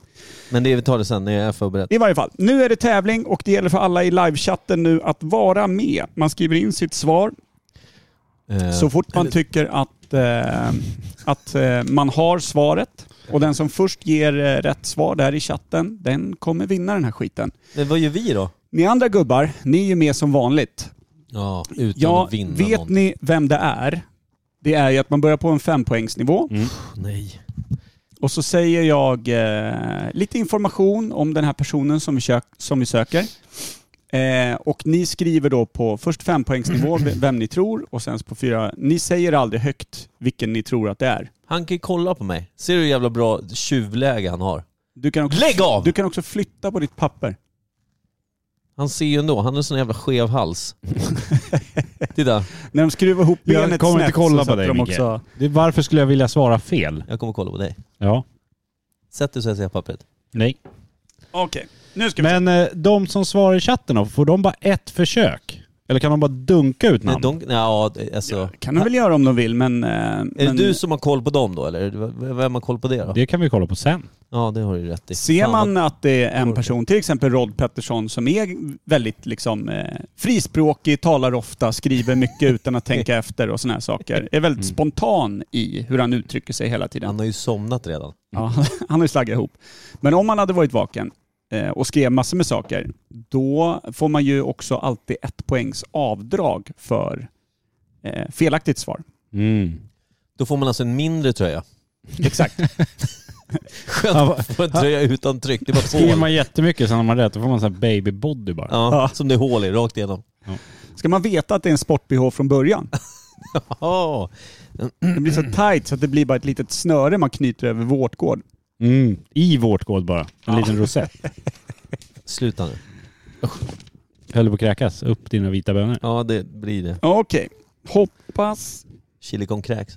[SPEAKER 1] Men det vi tar det sen när jag är förberett.
[SPEAKER 3] I varje fall, nu är det tävling och det gäller för alla i livechatten nu att vara med. Man skriver in sitt svar
[SPEAKER 1] Eh,
[SPEAKER 3] så fort man
[SPEAKER 1] eller-
[SPEAKER 3] tycker att, eh, att eh, man har svaret. Och den som först ger eh, rätt svar där i chatten, den kommer vinna den här skiten.
[SPEAKER 1] Men vad gör vi då?
[SPEAKER 3] Ni andra gubbar, ni är ju med som vanligt.
[SPEAKER 1] Ja, utan
[SPEAKER 3] Ja,
[SPEAKER 1] att vinna
[SPEAKER 3] vet
[SPEAKER 1] någonting.
[SPEAKER 3] ni vem det är? Det är ju att man börjar på en fempoängsnivå
[SPEAKER 1] Mm. Nej.
[SPEAKER 3] och så säger jag eh, lite information om den här personen som vi, kök, som vi söker. Eh, och ni skriver då på först fempoängsnivå v- vem ni tror och sen på fyra. Ni säger aldrig högt vilken ni tror att det är.
[SPEAKER 1] Han kan ju kolla på mig. Ser du hur jävla bra tjuvläge han har?
[SPEAKER 3] Du kan också,
[SPEAKER 1] Lägg av!
[SPEAKER 3] Du kan också flytta på ditt papper.
[SPEAKER 1] Han ser ju ändå. Han har en sån jävla skev
[SPEAKER 3] [laughs]
[SPEAKER 1] hals. Titta,
[SPEAKER 3] När de skruvar ihop
[SPEAKER 2] Jag
[SPEAKER 3] benet
[SPEAKER 2] kommer
[SPEAKER 3] snett
[SPEAKER 2] inte kolla på
[SPEAKER 3] så sätter
[SPEAKER 2] dig,
[SPEAKER 3] de
[SPEAKER 2] Micke.
[SPEAKER 3] också...
[SPEAKER 2] Det, varför skulle jag vilja svara fel?
[SPEAKER 1] jag kommer kolla på dig.
[SPEAKER 2] Ja.
[SPEAKER 1] Sätt dig så jag ser pappret.
[SPEAKER 2] Nej.
[SPEAKER 3] Okej, nu ska vi
[SPEAKER 2] Men eh, de som svarar i chatten då, får de bara ett försök? Eller kan de bara dunka ut
[SPEAKER 1] Nej,
[SPEAKER 2] namn?
[SPEAKER 1] de, nej, ja, det- alltså,
[SPEAKER 3] se. kan de väl göra om de vill men... eh,
[SPEAKER 1] Är
[SPEAKER 3] men
[SPEAKER 1] det du som har koll på dem då, eller? Vem har koll på det då?
[SPEAKER 2] Det kan vi kolla på sen.
[SPEAKER 1] Ja, det har du rätt i.
[SPEAKER 3] Ser
[SPEAKER 1] Fan, vad-
[SPEAKER 3] man att det är en person, till exempel Rod Pettersson, som är väldigt liksom, eh, frispråkig, talar ofta, skriver
[SPEAKER 1] [laughs]
[SPEAKER 3] mycket utan att tänka efter och sådana här saker. Är väldigt spontan i hur han uttrycker sig hela tiden.
[SPEAKER 1] Mm. Han har ju somnat redan.
[SPEAKER 3] Ja, [laughs] han har ju slaggat ihop. Men om han hade varit vaken eh, och skrev massor med saker, då får man ju också alltid ett poängs avdrag för eh, felaktigt svar.
[SPEAKER 2] Mm.
[SPEAKER 1] Då får man alltså en mindre tröja.
[SPEAKER 3] Exakt.
[SPEAKER 1] Skönt att [laughs] få en tröja utan tryck. Det är
[SPEAKER 2] [laughs] Skriver
[SPEAKER 1] bara hål.
[SPEAKER 2] man jättemycket sen har man rätt, då får man en babybody bara.
[SPEAKER 1] Ja, som det är hål i, rakt igenom. [laughs]
[SPEAKER 3] Ska man veta att det är en sport-bh från början?
[SPEAKER 1] Oh,
[SPEAKER 3] Det blir så
[SPEAKER 1] [clears throat]
[SPEAKER 3] tight så att det blir bara ett litet snöre man knyter över vårtgård.
[SPEAKER 2] Mm. I vårtgård bara. En liten rosett.
[SPEAKER 1] sluta nu.
[SPEAKER 2] Höll på att kräkas. Upp dina vita bönor.
[SPEAKER 1] Ja, det blir det.
[SPEAKER 3] Okej. Hoppas
[SPEAKER 1] Chili con cracks.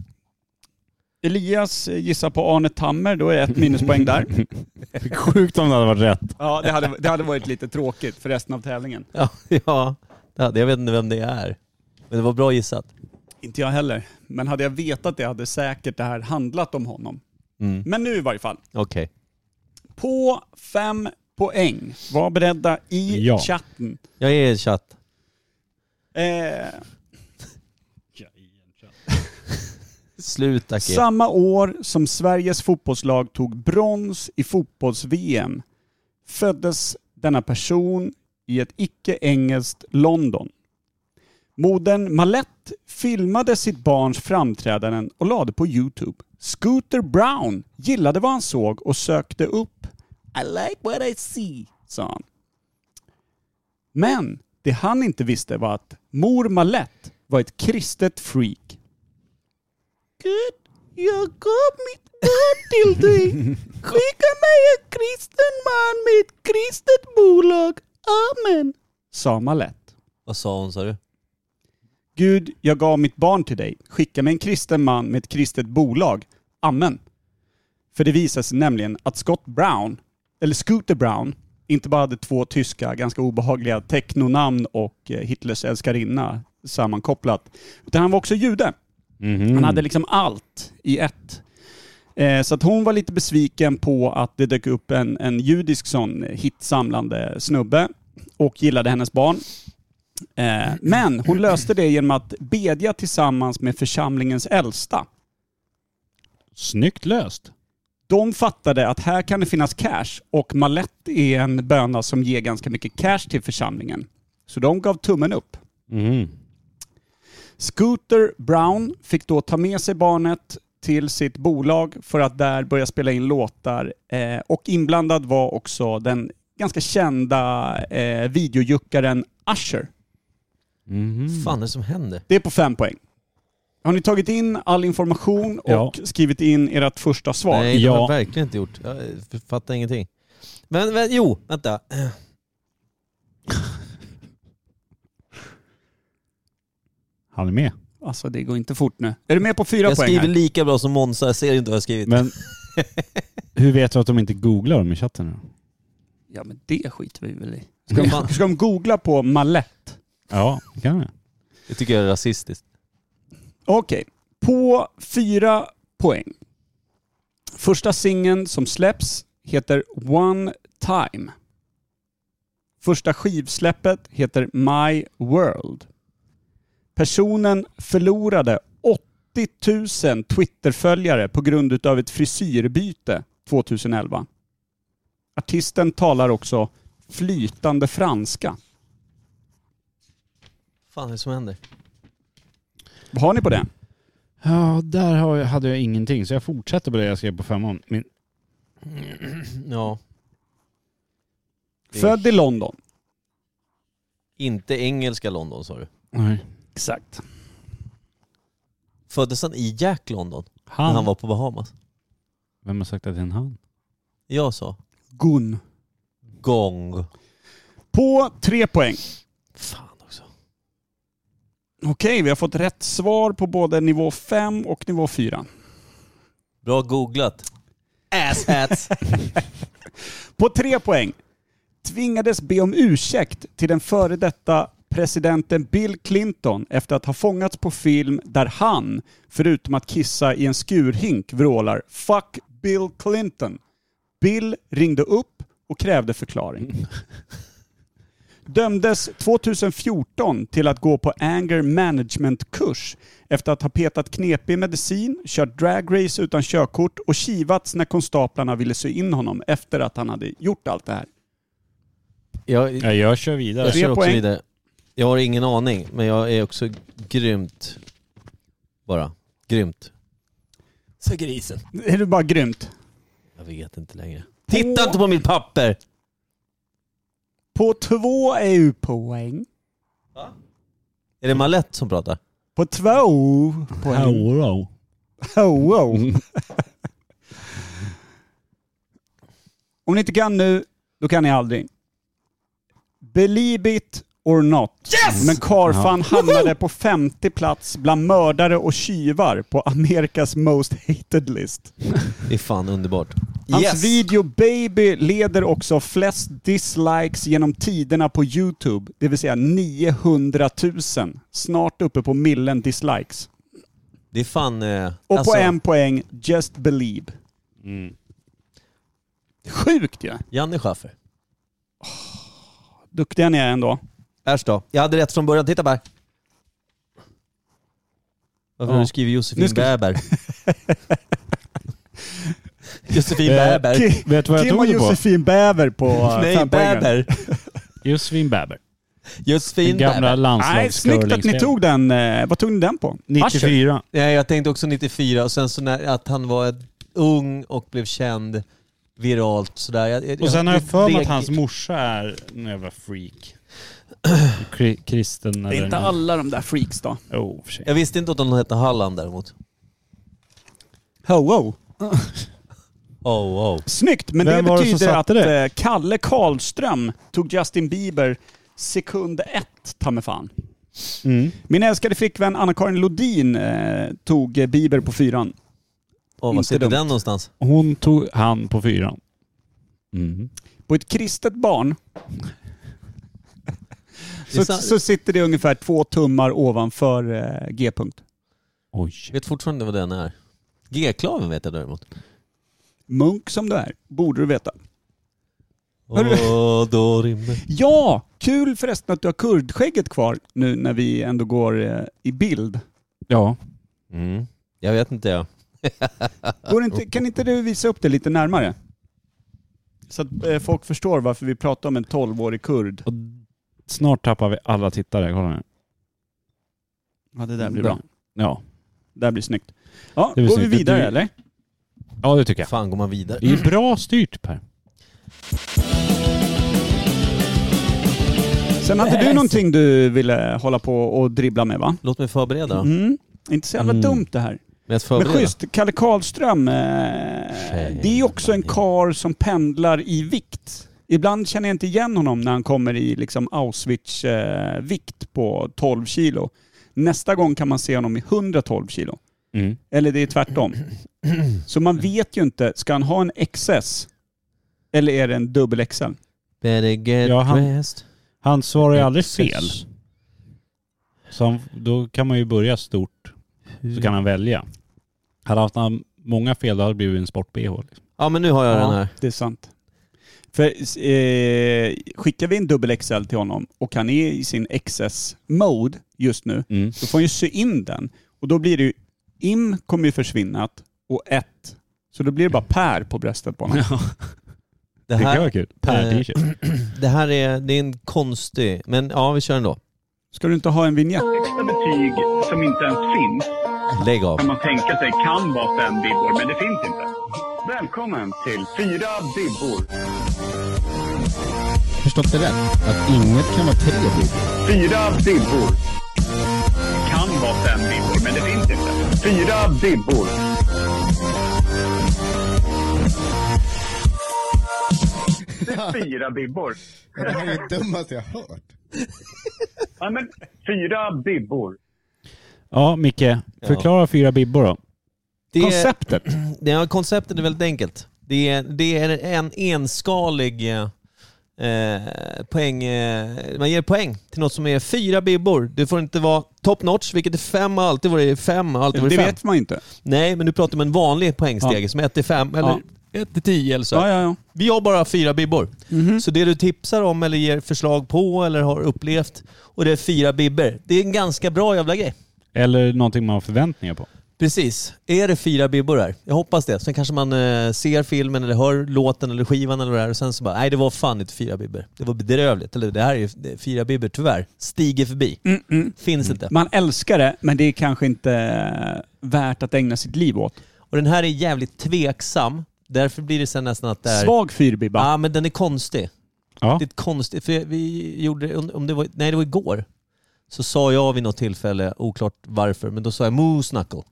[SPEAKER 1] [laughs]
[SPEAKER 3] Elias gissar på Arne Tammer, då är ett minuspoäng där.
[SPEAKER 2] Sjukt om det hade varit rätt.
[SPEAKER 3] [laughs] Ja, det hade, det hade varit lite tråkigt för resten av tävlingen.
[SPEAKER 1] Ja, ja. Det hade- jag vet inte vem det är. Men det var bra gissat.
[SPEAKER 3] Inte jag heller. Men hade jag vetat det hade säkert det här handlat om honom.
[SPEAKER 1] Mm.
[SPEAKER 3] Men nu i varje fall.
[SPEAKER 1] Okej.
[SPEAKER 3] På fem poäng. Var beredda i
[SPEAKER 2] Ja.
[SPEAKER 3] chatten.
[SPEAKER 1] Jag är i chatt.
[SPEAKER 3] Eh,
[SPEAKER 1] Sluta Kim.
[SPEAKER 3] Samma år som Sveriges fotbollslag tog brons i fotbolls-VM föddes denna person i ett icke-engelskt London. Modern Malette filmade sitt barns framträdanden och lade på Youtube. Scooter Brown gillade vad han såg och sökte upp I like what I see, sa han. Men det han inte visste var att mor Malette var ett kristet freak. Gud, jag gav mitt barn till dig. [laughs] Skicka mig en kristen man med ett kristet bolag. Amen, sa Malette.
[SPEAKER 1] Vad sa hon sa du?
[SPEAKER 3] Gud, jag gav mitt barn till dig. Skicka mig en kristen man med ett kristet bolag. Amen. För det visade sig nämligen att Scott Brown, eller Scooter Brown, inte bara hade två tyska, ganska obehagliga technonamn och eh, Hitlers älskarinna sammankopplat, utan han var också jude.
[SPEAKER 2] Mm.
[SPEAKER 3] Han
[SPEAKER 2] Mhm.
[SPEAKER 3] hade liksom allt i ett. Eh, Så att hon var lite besviken på att det dök upp en, en judisk sån hitsamlande snubbe och gillade hennes barn. Eh, Men hon löste det genom att bedja tillsammans med församlingens äldsta.
[SPEAKER 2] Snyggt löst.
[SPEAKER 3] De fattade att här kan det finnas cash och Malette är en böna som ger ganska mycket cash till församlingen. Så de gav tummen upp.
[SPEAKER 2] Mhm.
[SPEAKER 3] Scooter Brown fick då ta med sig barnet till sitt bolag för att där börja spela in låtar. Eh, och inblandad var också den ganska kända eh, videojuckaren Usher.
[SPEAKER 2] Mhm. Mm.
[SPEAKER 1] fan är det som händer?
[SPEAKER 3] Det är på fem poäng. Har ni tagit in all information och
[SPEAKER 2] Ja.
[SPEAKER 3] skrivit in ert första svar?
[SPEAKER 1] Nej, det har jag
[SPEAKER 2] Ja.
[SPEAKER 1] verkligen inte gjort. Jag fattar ingenting. Men, men jo, vänta.
[SPEAKER 2] Han är med.
[SPEAKER 3] Alltså det går inte fort nu. Är du med på fyra
[SPEAKER 1] Jag
[SPEAKER 3] poäng
[SPEAKER 1] skriver
[SPEAKER 3] här?
[SPEAKER 1] lika bra som Monza, jag ser inte vad jag har skrivit.
[SPEAKER 2] Men hur vet du att de inte googlar dem i chatten? nu?
[SPEAKER 3] Ja men det skiter vi väl i.
[SPEAKER 1] Ska man,
[SPEAKER 3] Ska de googla på Malette?
[SPEAKER 2] Ja, det kan jag.
[SPEAKER 1] det tycker jag är rasistiskt.
[SPEAKER 3] Okej. På fyra poäng. Första singeln som släpps heter One Time. Första skivsläppet heter My World. Personen förlorade 80 000 Twitterföljare på grund utav ett frisyrbyte 2011. Artisten talar också flytande franska.
[SPEAKER 1] fan är det som händer?
[SPEAKER 3] Vad har ni på det?
[SPEAKER 2] Ja, där har jag, hade jag ingenting så jag fortsätter på det jag skrev på femman. Min,
[SPEAKER 1] Ja, Det är-
[SPEAKER 3] Född i London.
[SPEAKER 1] inte engelska London sa du.
[SPEAKER 2] nej.
[SPEAKER 3] Exakt.
[SPEAKER 1] Föddes han i Jack London? När
[SPEAKER 2] Han?
[SPEAKER 1] han var på Bahamas?
[SPEAKER 2] Vem har sagt att det är en han?
[SPEAKER 1] Jag sa
[SPEAKER 3] Gun.
[SPEAKER 1] gång.
[SPEAKER 3] På tre poäng.
[SPEAKER 1] Fan också.
[SPEAKER 3] Okej, vi har fått rätt svar på både nivå 5 och nivå 4.
[SPEAKER 1] Bra googlat. Asshats.
[SPEAKER 3] På tre poäng tvingades be om ursäkt till den före detta presidenten Bill Clinton efter att ha fångats på film där han, förutom att kissa i en skurhink, vrålar “Fuck Bill Clinton”. Bill ringde upp och krävde förklaring. Dömdes 2014 till att gå på anger management-kurs efter att ha petat knepig medicin, kört dragrace utan körkort och kivats när konstaplarna ville sy in honom efter att han hade gjort allt det här.
[SPEAKER 1] [laughs] Jag,
[SPEAKER 2] Ja, jag kör vidare.
[SPEAKER 1] jag
[SPEAKER 3] Tre
[SPEAKER 1] kör också
[SPEAKER 3] poäng.
[SPEAKER 1] vidare. Jag har ingen aning, men jag är också grymt. Bara. Grymt. Så grisen.
[SPEAKER 3] Det är bara grymt.
[SPEAKER 1] Jag vet inte längre. Titta inte på mitt papper!
[SPEAKER 3] På två EU-poäng.
[SPEAKER 1] Är det Malett som pratar?
[SPEAKER 3] På två poäng.
[SPEAKER 2] Hello.
[SPEAKER 3] Oh, wow. [laughs] Om ni inte kan nu, då kan ni aldrig. Believe it or not. Men Karfan hamnade på femte plats bland mördare och tjuvar på Amerikas most hated list.
[SPEAKER 1] Det är fan underbart.
[SPEAKER 3] Hans video Baby leder också flest dislikes genom tiderna på YouTube, det vill säga 900 000. Snart uppe på millen dislikes.
[SPEAKER 1] Det är fan... Eh,
[SPEAKER 3] Och
[SPEAKER 1] alltså,
[SPEAKER 3] på en poäng, Just Believe.
[SPEAKER 2] Mm.
[SPEAKER 3] Sjukt ju! Ja.
[SPEAKER 1] Janne Schaffer.
[SPEAKER 3] Duktiga ni är ändå.
[SPEAKER 1] Äsch då. Jag hade rätt från början. Titta bara. Varför har du skrivit Josefin
[SPEAKER 3] Nu ska-
[SPEAKER 1] Bäber? Josefin Bäber.
[SPEAKER 3] Ki-
[SPEAKER 2] Vet du vad jag
[SPEAKER 3] Kim och
[SPEAKER 2] tog det på?
[SPEAKER 3] Josefin Bäver på eh,
[SPEAKER 1] Nej,
[SPEAKER 3] fem poängen.
[SPEAKER 1] Bäber.
[SPEAKER 2] Josefin Bäber.
[SPEAKER 1] Josefin
[SPEAKER 2] Den gamla
[SPEAKER 1] Bäber.
[SPEAKER 3] Nej, snyggt att ni
[SPEAKER 2] landslagscurlingspelaren.
[SPEAKER 3] tog den. eh, Vad tog ni den på? Ascher.
[SPEAKER 2] 94.
[SPEAKER 1] Nej, jag tänkte också 94 och sen så när, att han var ett- ung och blev känd viralt sådär. Jag, jag,
[SPEAKER 2] Och sen har jag för mig
[SPEAKER 1] det-
[SPEAKER 2] att hans morsa är en jävla
[SPEAKER 3] [clears throat]
[SPEAKER 2] freak. Kri- Kristen
[SPEAKER 3] Det
[SPEAKER 2] eller...
[SPEAKER 3] är inte alla de där freaks då.
[SPEAKER 2] Oh, för sig.
[SPEAKER 1] Jag visste inte att hon hette Halland däremot.
[SPEAKER 3] Ho, ho.
[SPEAKER 1] Oh, oh.
[SPEAKER 3] Snyggt, men
[SPEAKER 2] Vem
[SPEAKER 3] det
[SPEAKER 2] var det som
[SPEAKER 3] betyder att
[SPEAKER 2] satte det?
[SPEAKER 3] eh, Kalle Karlström tog Justin Bieber sekund ett, ta mig fan.
[SPEAKER 2] Mm.
[SPEAKER 3] Min älskade flickvän Anna-Karin Lodin eh, tog eh, Bieber på fyran.
[SPEAKER 1] Åh, var
[SPEAKER 3] Inte
[SPEAKER 1] sitter
[SPEAKER 3] dumt.
[SPEAKER 1] den någonstans?
[SPEAKER 2] Hon tog han på fyran. Mm.
[SPEAKER 3] På ett kristet barn
[SPEAKER 1] Det är
[SPEAKER 3] så,
[SPEAKER 1] sant.
[SPEAKER 3] så sitter det ungefär två tummar ovanför eh, G-punkt.
[SPEAKER 2] Oj.
[SPEAKER 1] Jag vet fortfarande vad den är. G-klaven vet jag däremot.
[SPEAKER 3] Munk som du är, borde du veta. Hörru.
[SPEAKER 1] Åh, då rimmer.
[SPEAKER 3] Ja, kul förresten att du har kurdskägget kvar nu när vi ändå går eh, i bild.
[SPEAKER 2] Ja.
[SPEAKER 1] Mm. Jag vet inte jag.
[SPEAKER 3] Går inte, kan inte du visa upp det lite närmare? Så att eh, folk förstår varför vi pratar om en 12-årig kurd.
[SPEAKER 2] Och snart tappar vi alla tittare. Kolla nu.
[SPEAKER 3] Ja, det
[SPEAKER 2] Ja.
[SPEAKER 3] Det där blir snyggt. Ja,
[SPEAKER 2] Det blir
[SPEAKER 3] går
[SPEAKER 2] snyggt.
[SPEAKER 3] vi vidare
[SPEAKER 2] Du-
[SPEAKER 3] eller?
[SPEAKER 2] ja, Mm. det tycker jag.
[SPEAKER 1] Fan, går man vidare?
[SPEAKER 6] Mm.
[SPEAKER 2] Det är bra styrt Per.
[SPEAKER 3] Sen hade du någonting du ville hålla på och dribbla med va?
[SPEAKER 1] Låt mig förbereda. då.
[SPEAKER 3] Mm. Inte så jävla
[SPEAKER 2] Mm.
[SPEAKER 3] dumt det här.
[SPEAKER 1] Med att
[SPEAKER 3] Men
[SPEAKER 1] förbereda.
[SPEAKER 3] schysst, Kalle Karlström, eh,
[SPEAKER 1] Tjej.
[SPEAKER 3] det är också en kar som pendlar i vikt. Ibland känner jag eh, inte igen honom när han kommer i liksom Auschwitz-vikt på 12 kilo. Nästa gång kan man se honom i 112 kilo.
[SPEAKER 6] Mm.
[SPEAKER 3] Eller det är tvärtom. Så man vet ju inte, ska han ha en XS eller är det en dubbel XL?
[SPEAKER 1] Better get
[SPEAKER 2] Ja, han-
[SPEAKER 1] dressed.
[SPEAKER 2] Han svarar ju aldrig fel. Så han, då kan man ju börja stort. Så kan han välja. Hade haft han många fel då hade det blivit en sport-bh. Liksom.
[SPEAKER 1] Ja men nu har jag den här.
[SPEAKER 3] det är sant. För eh, skickar vi en dubbel XL till honom och han är i sin XS-mode just nu,
[SPEAKER 6] Mm.
[SPEAKER 3] då får han ju sy in den. Och då blir det ju, im kommer ju försvinna och ett. Så då blir det bara Per på bröstet på honom.
[SPEAKER 1] Det
[SPEAKER 2] Det kan
[SPEAKER 1] här,
[SPEAKER 2] vara kul. Per
[SPEAKER 1] eh,
[SPEAKER 2] t-shirt.
[SPEAKER 1] det här är, det är en konstig, men ja vi kör ändå.
[SPEAKER 3] Ska du inte ha en vignett?
[SPEAKER 9] Extra betyg som inte ens finns
[SPEAKER 1] Lägg av.
[SPEAKER 9] kan man tänka sig kan vara fem bibbor, men det finns inte. Välkommen till Fyra bibbor.
[SPEAKER 10] Förstått det rätt? Att inget kan vara tre bibbor.
[SPEAKER 9] Fyra bibbor. Kan vara fem bibbor, men det finns inte. Fyra bibbor. Det är Fyra bibbor.
[SPEAKER 10] Det här är det dummaste jag har hört.
[SPEAKER 9] Ja, men fyra bibbor.
[SPEAKER 2] Ja, Micke. Förklara fyra bibbor då.
[SPEAKER 1] Det är,
[SPEAKER 3] Konceptet.
[SPEAKER 1] det, ja, konceptet är väldigt enkelt. Det är, det är en enskalig eh, eh, poäng. Eh, man ger poäng till något som är fyra bibbor. Du får inte vara top notch, vilket är fem och alltid varit fem och alltid
[SPEAKER 3] Det
[SPEAKER 1] varit fem.
[SPEAKER 3] vet man ju inte.
[SPEAKER 1] Nej, men du pratar om en vanlig poängstege som är 1 till 5 eller 1 till 10 eller så.
[SPEAKER 3] Ja, ja, ja.
[SPEAKER 1] Vi har bara fyra bibbor. Så det du tipsar om eller ger förslag på eller har upplevt och det är fyra bibbor. Det är en ganska bra jävla grej.
[SPEAKER 2] Eller någonting man har förväntningar på.
[SPEAKER 1] Precis. Är det fyra bibbor här? Jag hoppas det. Sen kanske man eh, ser filmen eller hör låten eller skivan eller vad det är och sen så bara, nej det var fan inte fyra bibbor. Det var bedrövligt. Eller det här är ju det är fyra bibbor tyvärr. Stiger förbi. Finns inte.
[SPEAKER 3] Mm, Man älskar det, men det är kanske inte värt att ägna sitt liv åt.
[SPEAKER 1] Och den här är jävligt tveksam. Därför blir det sen nästan att det är...
[SPEAKER 3] Svag fyrbibba.
[SPEAKER 1] Ja, men den är konstig.
[SPEAKER 2] Ja.
[SPEAKER 1] Det är ett konstigt, för vi gjorde, om det var, nej det var igår, så sa jag vid något tillfälle, oklart varför, men då sa jag moose knuckle.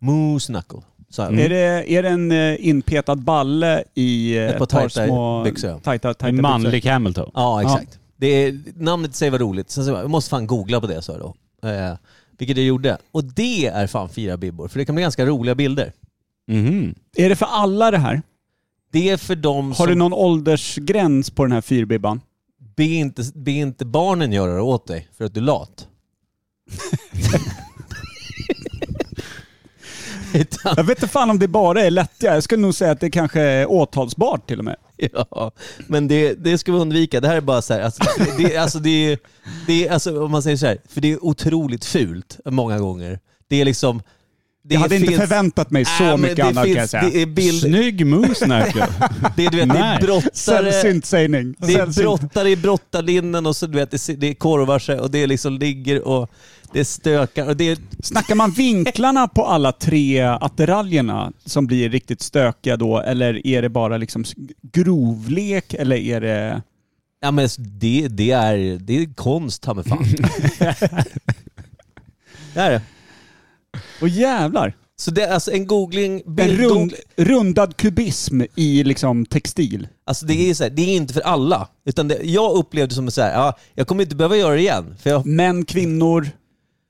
[SPEAKER 1] Moose knuckle. Så här.
[SPEAKER 3] Är, det, är det en eh, inpetad balle i eh,
[SPEAKER 1] Ett par tajta byxor.
[SPEAKER 3] tajta, tajta
[SPEAKER 2] En
[SPEAKER 3] byxor?
[SPEAKER 2] manlig Hamilton.
[SPEAKER 1] Ja, exakt. Det är, namnet säger var roligt. Sen så bara, jag måste fan googla på det, sa jag då. Eh, vilket jag gjorde. Och det är fan fyra bibbor, för det kan bli ganska roliga bilder.
[SPEAKER 6] Mhm.
[SPEAKER 3] Är det för alla det här?
[SPEAKER 1] Det är för dem
[SPEAKER 3] Har
[SPEAKER 1] som...
[SPEAKER 3] du någon åldersgräns på den här fyrbibban?
[SPEAKER 1] Be, inte, be inte barnen göra det åt dig, för att du är
[SPEAKER 3] [laughs]
[SPEAKER 1] lat. Utan
[SPEAKER 3] Jag vet inte fan om det bara är lättja. Jag skulle nog säga att det kanske är åtalsbart till och med.
[SPEAKER 1] Ja, men det, det ska vi undvika. Det här är bara så här, alltså, det, alltså, det, är- det, är- alltså, om man säger så här, för det är otroligt fult många gånger. Det är liksom... Det
[SPEAKER 3] Jag hade
[SPEAKER 1] finns-
[SPEAKER 3] inte förväntat mig så
[SPEAKER 1] Nej, men
[SPEAKER 3] mycket
[SPEAKER 1] det
[SPEAKER 3] annat kan jag
[SPEAKER 1] finns-
[SPEAKER 3] säga.
[SPEAKER 1] Det är bild,
[SPEAKER 2] Snygg moose
[SPEAKER 1] [laughs]
[SPEAKER 2] knuckle.
[SPEAKER 1] det är, du vet, det är
[SPEAKER 2] Nej.
[SPEAKER 1] brottare,
[SPEAKER 3] Sällsynt sägning.
[SPEAKER 1] det är
[SPEAKER 3] Sällsynt.
[SPEAKER 1] brottare i brottarlinnen och så du vet, det, det är korvar sig och det är liksom ligger och det stökar och det är
[SPEAKER 3] Snackar man vinklarna på alla tre attiraljerna som blir riktigt stökiga då, eller är det bara liksom s- grovlek, eller är det...
[SPEAKER 1] Ja men det, det är, det är konst ta mig
[SPEAKER 3] [laughs]
[SPEAKER 1] fan. det är det.
[SPEAKER 3] Och jävlar!
[SPEAKER 1] Så det är alltså en googling,
[SPEAKER 3] En
[SPEAKER 1] bild,
[SPEAKER 3] rund, rundad kubism i liksom textil.
[SPEAKER 1] alltså det är ju så här, det är inte för alla. Utan det, jag upplevde som så här, ja, jag kommer inte behöva göra det igen. För jag,
[SPEAKER 3] Män, kvinnor,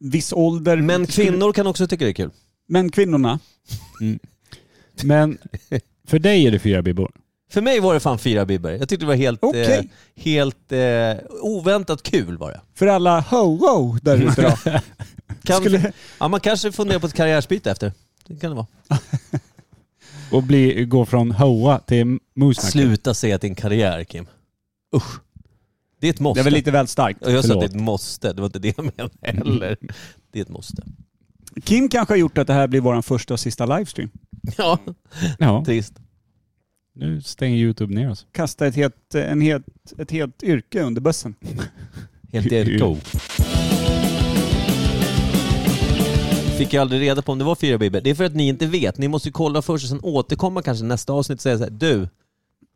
[SPEAKER 3] viss ålder.
[SPEAKER 1] men kvinnor kan också tycka det är kul.
[SPEAKER 3] Men kvinnorna.
[SPEAKER 2] Men för dig är det fyra bibbor.
[SPEAKER 1] För mig var det fan fyra bibbor. Jag tyckte det var helt, eh,
[SPEAKER 3] Okej.
[SPEAKER 1] helt eh, oväntat kul var det.
[SPEAKER 3] För alla ho-ho där ute
[SPEAKER 1] [laughs]
[SPEAKER 3] då.
[SPEAKER 1] Kan,
[SPEAKER 3] Skulle-
[SPEAKER 1] ja, man kanske funderar på ett karriärsbyte efter. Det kan det vara.
[SPEAKER 2] Och bli, gå från hoa till moose knuckle.
[SPEAKER 1] Sluta säga att det är en karriär Kim. Usch. Det är ett måste.
[SPEAKER 3] Det är väl lite väl starkt.
[SPEAKER 1] Och jag sa att
[SPEAKER 2] Förlåt.
[SPEAKER 1] det är ett måste, det var inte det jag menade heller. Det är ett måste.
[SPEAKER 3] Kim kanske har gjort att det här blir vår första och sista livestream.
[SPEAKER 1] Ja,
[SPEAKER 2] Ja,
[SPEAKER 1] trist.
[SPEAKER 2] nu stänger YouTube ner oss.
[SPEAKER 3] Kasta ett helt, en helt, ett helt yrke under bussen.
[SPEAKER 1] Helt eko. Fick jag aldrig reda på om det var fyra bibbor. Det är för att ni inte vet. Ni måste ju kolla först och sen återkomma kanske i nästa avsnitt och säga så här, du,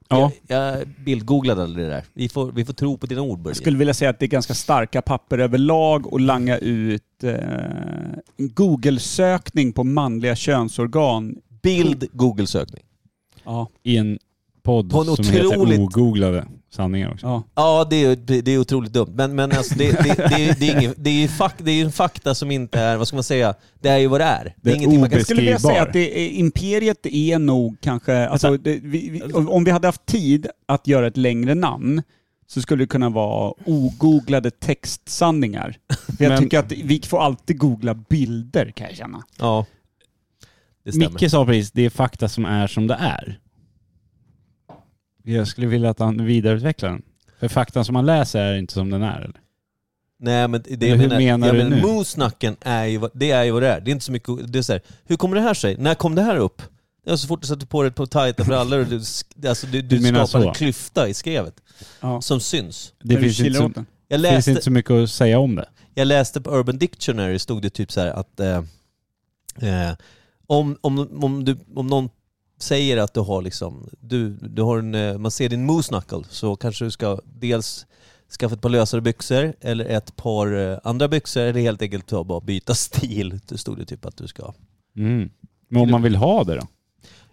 [SPEAKER 2] Ja.
[SPEAKER 1] jag, jag bildgooglade aldrig det där. Vi får, vi får tro på dina ord Börje.
[SPEAKER 3] Jag skulle vilja säga att det är ganska starka papper överlag och langa ut eh, en Google-sökning på manliga könsorgan.
[SPEAKER 1] Bild Google-sökning.
[SPEAKER 3] Ja.
[SPEAKER 2] I en podd
[SPEAKER 1] På en
[SPEAKER 2] som heter
[SPEAKER 1] otroligt-
[SPEAKER 2] Ogooglade. sanningar också.
[SPEAKER 3] Ja.
[SPEAKER 1] Ja, det är, det är otroligt dumt. Men, men alltså, det, det, det, det, är- det, är ingen, det, är ju fak, det är ju en fakta som inte är, vad ska man säga, det är ju vad det är. Det
[SPEAKER 2] Det
[SPEAKER 1] är
[SPEAKER 2] är
[SPEAKER 1] ingenting man kan...
[SPEAKER 3] Jag skulle vilja
[SPEAKER 2] Skrivbar.
[SPEAKER 3] säga att det är, imperiet är nog kanske... Alltså, det, vi, vi, om vi hade haft tid att göra ett längre namn så skulle det kunna vara
[SPEAKER 2] [laughs]
[SPEAKER 3] ogooglade textsanningar. För jag
[SPEAKER 2] Men-
[SPEAKER 3] tycker att vi får alltid googla bilder kan jag känna.
[SPEAKER 1] Ja. Det stämmer.
[SPEAKER 2] Micke sa precis, det är fakta som är som det är. Jag skulle vilja att han vidareutvecklar den. För faktan som man läser är inte som den är. Eller?
[SPEAKER 1] Nej men det
[SPEAKER 2] Eller hur menar
[SPEAKER 1] jag
[SPEAKER 2] du nu?
[SPEAKER 1] Moosnacken är ju, vad- det är ju vad det är. Det är inte så mycket, det är så här, hur kommer det här sig? När kom det här upp? Det var så fort du satte på dig på tajta brallor och du, sk- alltså, du, du,
[SPEAKER 2] Du menar
[SPEAKER 1] skapade
[SPEAKER 2] så?
[SPEAKER 1] en klyfta i skrevet.
[SPEAKER 3] Ja.
[SPEAKER 1] Som syns.
[SPEAKER 2] Det
[SPEAKER 3] När du
[SPEAKER 2] finns inte,
[SPEAKER 3] kilar
[SPEAKER 2] så,
[SPEAKER 3] åt den.
[SPEAKER 1] Jag
[SPEAKER 2] finns
[SPEAKER 1] läste,
[SPEAKER 2] inte så mycket att säga om det.
[SPEAKER 1] jag läste på Urban Dictionary stod det typ så här att eh, eh, om, om, om, du, om någon säger att du har liksom, du, du har en, eh, man ser din moosnackle så kanske du ska dels skaffa ett par lösare byxor eller ett par eh, andra byxor eller helt enkelt ta och bara byta [laughs] stil. Det stod det typ att du ska.
[SPEAKER 2] Mm. Men om man vill ha det då?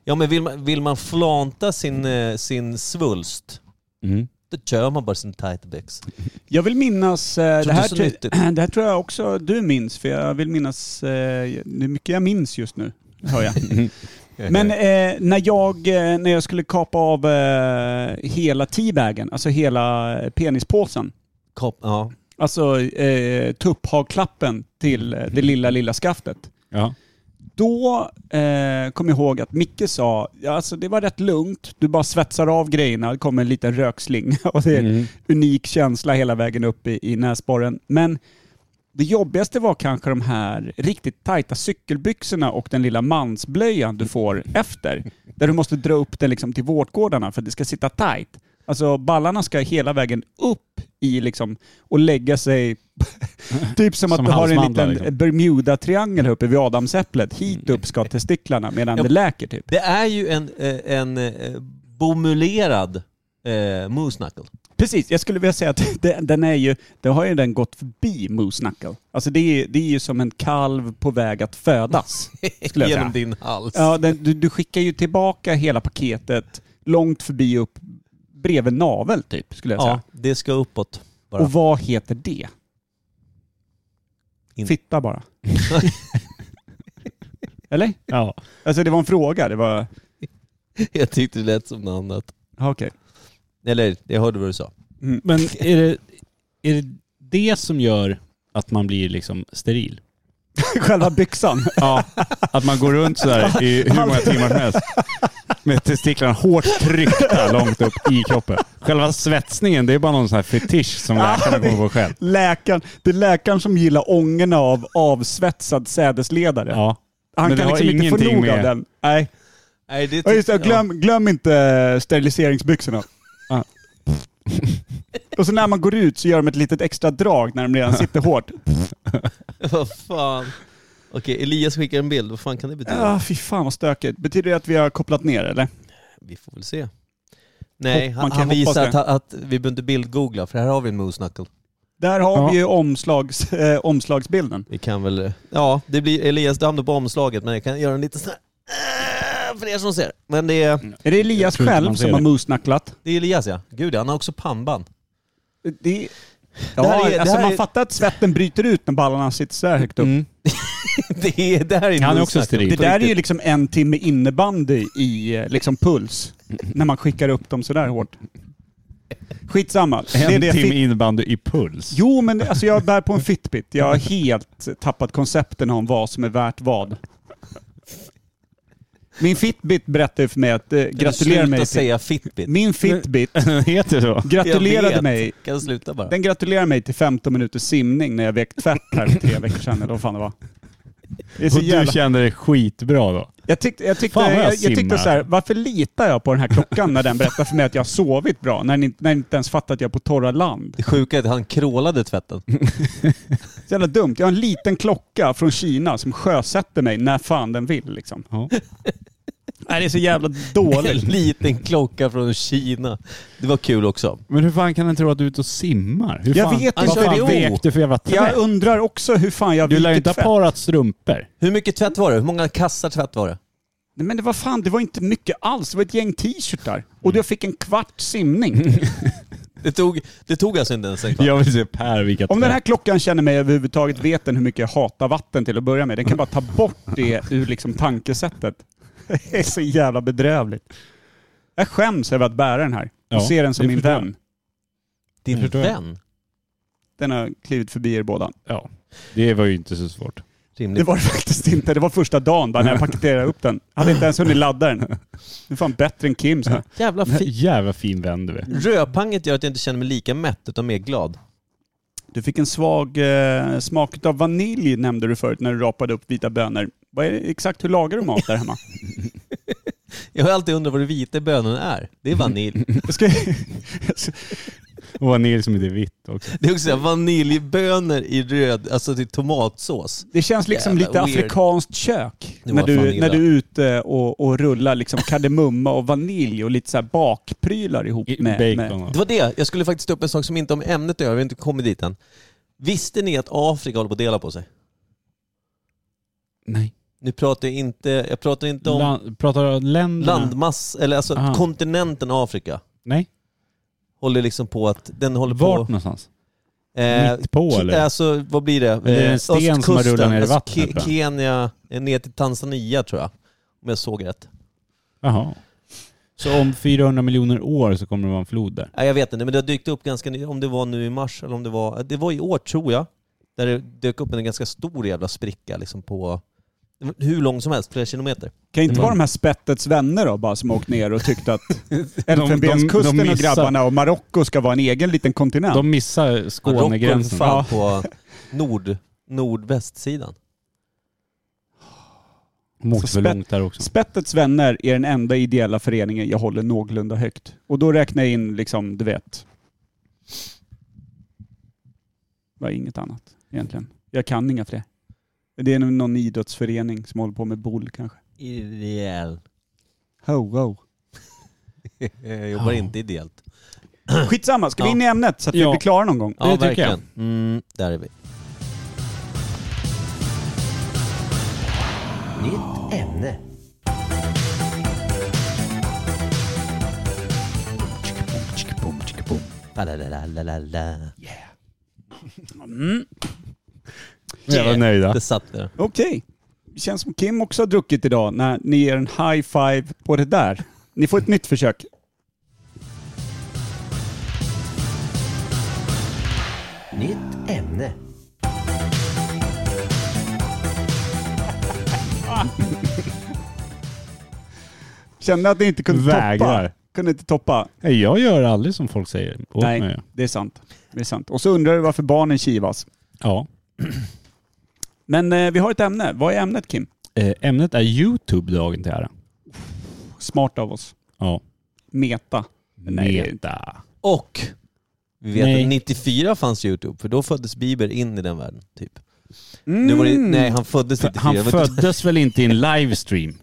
[SPEAKER 1] Ja men vill man, vill man flanta sin, eh, sin svulst
[SPEAKER 2] Mm.
[SPEAKER 1] då kör man bara sin tight byx.
[SPEAKER 3] Jag vill minnas... eh,
[SPEAKER 1] Så
[SPEAKER 3] Det
[SPEAKER 1] det är
[SPEAKER 3] här,
[SPEAKER 1] så
[SPEAKER 3] tr-
[SPEAKER 1] nyttigt.
[SPEAKER 3] [clears throat] det här tror jag också du minns, för jag vill minnas... eh, Det är mycket jag minns just nu, hör jag. Men eh, när, jag, eh, när jag skulle kapa av eh, hela teabagen, alltså hela penispåsen,
[SPEAKER 1] Kop, ja.
[SPEAKER 3] alltså eh, tupphagklappen till eh, det lilla, lilla skaftet.
[SPEAKER 2] Ja.
[SPEAKER 3] Då eh, kom jag ihåg att Micke sa, ja, alltså det var rätt lugnt, du bara svetsar av grejerna, det kommer en liten rökslinga [laughs] och det är en unik känsla hela vägen upp i, i näsborren. Men det jobbigaste var kanske de här riktigt tajta cykelbyxorna och den lilla mansblöjan du får efter. Där du måste dra upp den liksom till vårtgårdarna för att det ska sitta tajt. Alltså ballarna ska hela vägen upp i liksom och lägga sig [laughs] typ som,
[SPEAKER 2] Som
[SPEAKER 3] att du har en
[SPEAKER 2] halsmandlar,
[SPEAKER 3] liten
[SPEAKER 2] liksom. Mm.
[SPEAKER 3] Bermuda-triangel här uppe vid adamsäpplet. Hit upp ska testiklarna medan
[SPEAKER 1] Ja.
[SPEAKER 3] det läker typ.
[SPEAKER 1] Det är ju en, eh, en eh, bomulerad eh, moosnackle.
[SPEAKER 3] Precis, jag skulle vilja säga att [laughs] det, den är ju, det har ju den gått förbi Moose Knuckle. Alltså det är, det är ju som en kalv på väg att födas. [laughs] Skulle jag
[SPEAKER 1] Genom
[SPEAKER 3] säga.
[SPEAKER 1] din hals.
[SPEAKER 3] Ja, den, du, du skickar ju tillbaka hela paketet långt förbi upp bredvid navel typ, skulle jag
[SPEAKER 1] Ja,
[SPEAKER 3] säga.
[SPEAKER 1] det ska
[SPEAKER 3] [laughs]
[SPEAKER 1] uppåt. bara.
[SPEAKER 3] Och vad heter det?
[SPEAKER 1] In-
[SPEAKER 3] Fitta bara. [laughs] Eller?
[SPEAKER 2] ja.
[SPEAKER 3] Alltså det var en fråga, det var...
[SPEAKER 1] Jag tyckte det lät som något annat.
[SPEAKER 3] Ja, Okej. Mm.
[SPEAKER 1] Eller, jag hörde vad du sa.
[SPEAKER 2] Men är det, är det det som gör att man blir liksom steril?
[SPEAKER 3] [laughs] Själva byxan.
[SPEAKER 2] Ja, att man går runt sådär i hur många timmar som helst med testiklarna hårt tryckta långt upp i kroppen. Själva svetsningen, det är bara någon sån här fetisch som läkarna kommer på själv.
[SPEAKER 3] Läkaren, det är läkaren som gillar ången av avsvetsad sädesledare.
[SPEAKER 2] Ja.
[SPEAKER 3] Han
[SPEAKER 2] Men
[SPEAKER 3] kan
[SPEAKER 2] det har
[SPEAKER 3] liksom inte få
[SPEAKER 2] ingenting
[SPEAKER 3] nog av
[SPEAKER 2] med-
[SPEAKER 3] den. Nej.
[SPEAKER 1] Nej, det
[SPEAKER 3] Ja, just det, glöm, glöm inte steriliseringsbyxorna. [laughs]
[SPEAKER 2] Ja.
[SPEAKER 3] Och så när man går ut så gör de ett litet extra drag när de redan sitter hårt.
[SPEAKER 1] [laughs] Vad fan. Okej, Elias skickar en bild. Vad fan kan det betyda?
[SPEAKER 3] Ah, fy fan vad stökigt. Betyder det att vi har kopplat ner eller?
[SPEAKER 1] Vi får väl se. Nej,
[SPEAKER 3] Hopp-
[SPEAKER 1] han,
[SPEAKER 3] man kan
[SPEAKER 1] han
[SPEAKER 3] hoppas
[SPEAKER 1] visar att,
[SPEAKER 3] det.
[SPEAKER 1] att vi behöver inte bildgoogla, för här har vi en moose knuckle.
[SPEAKER 3] Där har
[SPEAKER 2] Ja.
[SPEAKER 3] vi ju omslags, eh, omslagsbilden.
[SPEAKER 1] Vi kan väl... eh, Ja, det blir Elias Damdo på omslaget, men jag kan göra en liten sån här... Äh, För er som ser. Men det är,
[SPEAKER 3] Är det Elias
[SPEAKER 2] tror inte
[SPEAKER 3] själv
[SPEAKER 2] man ser
[SPEAKER 3] som har
[SPEAKER 2] det.
[SPEAKER 3] musnacklat?
[SPEAKER 1] det är Elias ja. Gud han har också pannband. [laughs]
[SPEAKER 3] Det, ja,
[SPEAKER 1] Det här är- det
[SPEAKER 3] alltså
[SPEAKER 1] här
[SPEAKER 3] man
[SPEAKER 1] är-
[SPEAKER 3] fattar att svetten bryter ut när ballarna sitter så här högt upp.
[SPEAKER 2] Mm.
[SPEAKER 1] Det, är, det här är en
[SPEAKER 2] Han är
[SPEAKER 1] moose
[SPEAKER 2] också
[SPEAKER 1] knuckle.
[SPEAKER 2] steril.
[SPEAKER 3] Mm. Det
[SPEAKER 1] På
[SPEAKER 3] där är
[SPEAKER 1] riktigt.
[SPEAKER 3] ju liksom en timme innebandy i eh, liksom puls. När man skickar upp dem sådär hårt. Skitsamma. Det är
[SPEAKER 2] En
[SPEAKER 3] det jag
[SPEAKER 2] timme
[SPEAKER 3] fick.
[SPEAKER 2] innebandy i puls.
[SPEAKER 3] Jo, men alltså jag bär på en fitbit. Jag har helt tappat koncepten om vad som är värt vad. Min fitbit berättade ju för mig att... Eh, gratulerar
[SPEAKER 1] Sluta
[SPEAKER 3] mig till,
[SPEAKER 1] säga fitbit.
[SPEAKER 2] [laughs]
[SPEAKER 3] min fitbit
[SPEAKER 2] [laughs] Heter det så?
[SPEAKER 1] Jag
[SPEAKER 3] gratulerade
[SPEAKER 1] vet.
[SPEAKER 3] mig
[SPEAKER 1] Kan jag sluta bara?
[SPEAKER 3] den gratulerar mig till 15 minuters simning när jag väckt tvärt här för tre veckor sedan, eller vad fan det var. Det är så
[SPEAKER 2] Och du
[SPEAKER 3] jävla...
[SPEAKER 2] kände dig skitbra då?
[SPEAKER 3] Jag tyckte, jag tyckte,
[SPEAKER 2] Fan vad
[SPEAKER 3] jag
[SPEAKER 2] jag
[SPEAKER 3] jag tyckte
[SPEAKER 2] simmar.
[SPEAKER 3] så här, varför litar jag på den här klockan när den berättar för mig att jag har sovit bra? När den, inte- när den inte ens fattar att jag är på torra land.
[SPEAKER 1] Det sjuka är att han krålade tvätten.
[SPEAKER 3] Så jävla dumt. Jag har en liten klocka från Kina som sjösätter mig när fan den vill liksom.
[SPEAKER 2] Ja.
[SPEAKER 3] [laughs] Nej, det är så jävla
[SPEAKER 1] En
[SPEAKER 3] dåligt.
[SPEAKER 1] [laughs] liten klocka från Kina. Det var kul också.
[SPEAKER 2] Men hur fan kan han tro att du är ute och simmar? Hur
[SPEAKER 3] Jag
[SPEAKER 2] fan,
[SPEAKER 3] vet
[SPEAKER 2] vad
[SPEAKER 1] inte.
[SPEAKER 2] fan
[SPEAKER 1] Han körde
[SPEAKER 2] vek du för jävla
[SPEAKER 3] Jag
[SPEAKER 2] tvätt?
[SPEAKER 3] undrar också hur fan jag
[SPEAKER 2] Du lär ju
[SPEAKER 3] vikit
[SPEAKER 2] inte ha
[SPEAKER 3] fett.
[SPEAKER 2] parat strumpor.
[SPEAKER 1] Hur mycket tvätt var det? Hur många kassar tvätt var det?
[SPEAKER 3] Nej, men det var fan, det var inte mycket alls. Det var ett gäng t-shirtar. Och jag fick en kvart simning.
[SPEAKER 2] [laughs]
[SPEAKER 1] Det tog, det tog alltså inte ens en kvart.
[SPEAKER 2] Jag vill se Per vilka
[SPEAKER 3] Om den här klockan känner mig överhuvudtaget vet den hur mycket jag hatar vatten till att börja med. Den kan bara ta bort det ur
[SPEAKER 2] [laughs]
[SPEAKER 3] liksom tankesättet. Det är så jävla bedrövligt. Jag skäms över att bära den här. Jag
[SPEAKER 2] Ja,
[SPEAKER 3] ser den som
[SPEAKER 2] det
[SPEAKER 3] min
[SPEAKER 2] förstår jag.
[SPEAKER 3] vän.
[SPEAKER 1] Din
[SPEAKER 2] förstår jag.
[SPEAKER 1] vän.
[SPEAKER 3] Den har klivit förbi er båda.
[SPEAKER 2] Ja, det var ju inte så svårt.
[SPEAKER 1] Rimligt.
[SPEAKER 3] Det var det faktiskt inte. Det var första dagen bara när jag paketerade upp den. Jag hade inte ens hunnit ladda den. Det är fan bättre än Kims. här.
[SPEAKER 1] Jävla fi...
[SPEAKER 2] Jävla fin vän du är.
[SPEAKER 1] Rödpanget gör att jag inte känner mig lika mätt utan mer glad.
[SPEAKER 3] Du fick en svag eh, smak av vanilj nämnde du förut när du rapade upp vita bönor. Vad är det, exakt hur lagar du mat där hemma?
[SPEAKER 1] Jag har alltid undrat vad de vita bönorna är. Det är
[SPEAKER 3] [laughs]
[SPEAKER 1] vanilj.
[SPEAKER 3] Jag ska,
[SPEAKER 2] Och vanilj som inte är liksom vitt också.
[SPEAKER 1] Det är också så här, vaniljbönor i röd, alltså till tomatsås.
[SPEAKER 3] Det känns liksom
[SPEAKER 1] Jävla
[SPEAKER 3] lite
[SPEAKER 1] weird.
[SPEAKER 3] afrikanskt kök.
[SPEAKER 1] Det
[SPEAKER 3] När
[SPEAKER 1] var fan
[SPEAKER 3] du,
[SPEAKER 1] illa.
[SPEAKER 3] när du är ute och, och rullar liksom kardemumma och vanilj och lite så här bakprylar ihop
[SPEAKER 2] I-
[SPEAKER 3] med...
[SPEAKER 2] Bacon.
[SPEAKER 3] med
[SPEAKER 1] Det var det. Jag skulle faktiskt ta upp en sak som inte har med ämnet att göra. Vi har inte kommit dit än. Visste ni att Afrika håller på att dela på sig?
[SPEAKER 2] Nej.
[SPEAKER 1] Nu pratar jag inte, jag pratar inte om
[SPEAKER 2] Land, pratar du om länderna?
[SPEAKER 1] landmass, eller alltså
[SPEAKER 2] Aha.
[SPEAKER 1] kontinenten Afrika.
[SPEAKER 2] Nej.
[SPEAKER 1] Håller liksom på att, den håller
[SPEAKER 2] Vart
[SPEAKER 1] på...
[SPEAKER 2] någonstans?
[SPEAKER 1] Eh,
[SPEAKER 2] Mitt på,
[SPEAKER 1] Ki-
[SPEAKER 2] eller?
[SPEAKER 1] Alltså vad blir det?
[SPEAKER 2] det är en
[SPEAKER 1] Eh,
[SPEAKER 2] sten som har
[SPEAKER 1] östkusten,
[SPEAKER 2] rullat ner i
[SPEAKER 1] alltså
[SPEAKER 2] vattnet,
[SPEAKER 1] Ke-
[SPEAKER 2] va?
[SPEAKER 1] Kenya, eh, ner till Tanzania tror jag. Om jag såg rätt.
[SPEAKER 2] Jaha. Så om 400 miljoner år så kommer det vara en flod där?
[SPEAKER 1] Nej, jag vet inte, men det har dykt upp ganska nyligen, om det var nu i mars eller om det var, det var i år tror jag, där det dök upp en ganska stor jävla spricka liksom på hur lång som helst, flera kilometer.
[SPEAKER 3] Kan inte
[SPEAKER 2] Mm.
[SPEAKER 3] vara de här spettets vänner då, bara som har åkt ner och tyckt
[SPEAKER 1] [laughs]
[SPEAKER 3] att
[SPEAKER 2] de-
[SPEAKER 3] Elfenbenskusten
[SPEAKER 2] de
[SPEAKER 3] och
[SPEAKER 2] missar-
[SPEAKER 3] grabbarna och Marocko ska vara en egen liten kontinent.
[SPEAKER 2] De missar Skånegränsen.
[SPEAKER 1] Marocko för fan på nord, nordvästsidan.
[SPEAKER 2] De åkte
[SPEAKER 3] Så
[SPEAKER 2] för
[SPEAKER 3] spett-
[SPEAKER 2] långt där också.
[SPEAKER 3] Spettets vänner är den enda ideella föreningen jag håller någorlunda högt. Och då räknar jag in liksom, du vet... Var inget annat egentligen. Jag kan inga fler. Det är nog någon idrottsförening som håller på med boll kanske.
[SPEAKER 1] Ideell.
[SPEAKER 3] Ho, ho.
[SPEAKER 1] Jag jobbar inte ideellt.
[SPEAKER 3] Skitsamma, ska vi
[SPEAKER 1] Ja.
[SPEAKER 3] in i ämnet så att vi
[SPEAKER 2] Ja.
[SPEAKER 3] blir klara någon gång?
[SPEAKER 1] Ja,
[SPEAKER 2] tycker jag.
[SPEAKER 1] verkligen. Mm, där är vi. Nytt ämne.
[SPEAKER 2] Jävla nöjda.
[SPEAKER 1] Det satt där.
[SPEAKER 3] Okej. Det känns som Kim också har druckit idag när ni ger en high five på det där. Ni får ett nytt försök.
[SPEAKER 1] Nytt ämne.
[SPEAKER 3] Kände att ni inte kunde
[SPEAKER 2] Vägrar.
[SPEAKER 3] toppa. Kunde inte toppa.
[SPEAKER 2] Nej, jag gör aldrig som folk säger. Åt
[SPEAKER 3] Nej,
[SPEAKER 2] mig.
[SPEAKER 3] det är sant. Det är sant. Och så undrar du varför barnen kivas.
[SPEAKER 2] Ja.
[SPEAKER 3] Men eh, vi har ett ämne. Vad är ämnet Kim?
[SPEAKER 2] Eh, Ämnet är YouTube dagen till ära.
[SPEAKER 3] Smart av oss.
[SPEAKER 2] Ja.
[SPEAKER 3] Meta. Nej, det är
[SPEAKER 2] Meta.
[SPEAKER 1] Och vi vet
[SPEAKER 2] Nej.
[SPEAKER 1] att 94 fanns Youtube, för då föddes Bieber in i den världen. Typ. Nu var
[SPEAKER 3] Mm.
[SPEAKER 1] det, nej, han föddes 94.
[SPEAKER 2] Han
[SPEAKER 1] Det var inte-
[SPEAKER 2] föddes väl inte i en livestream?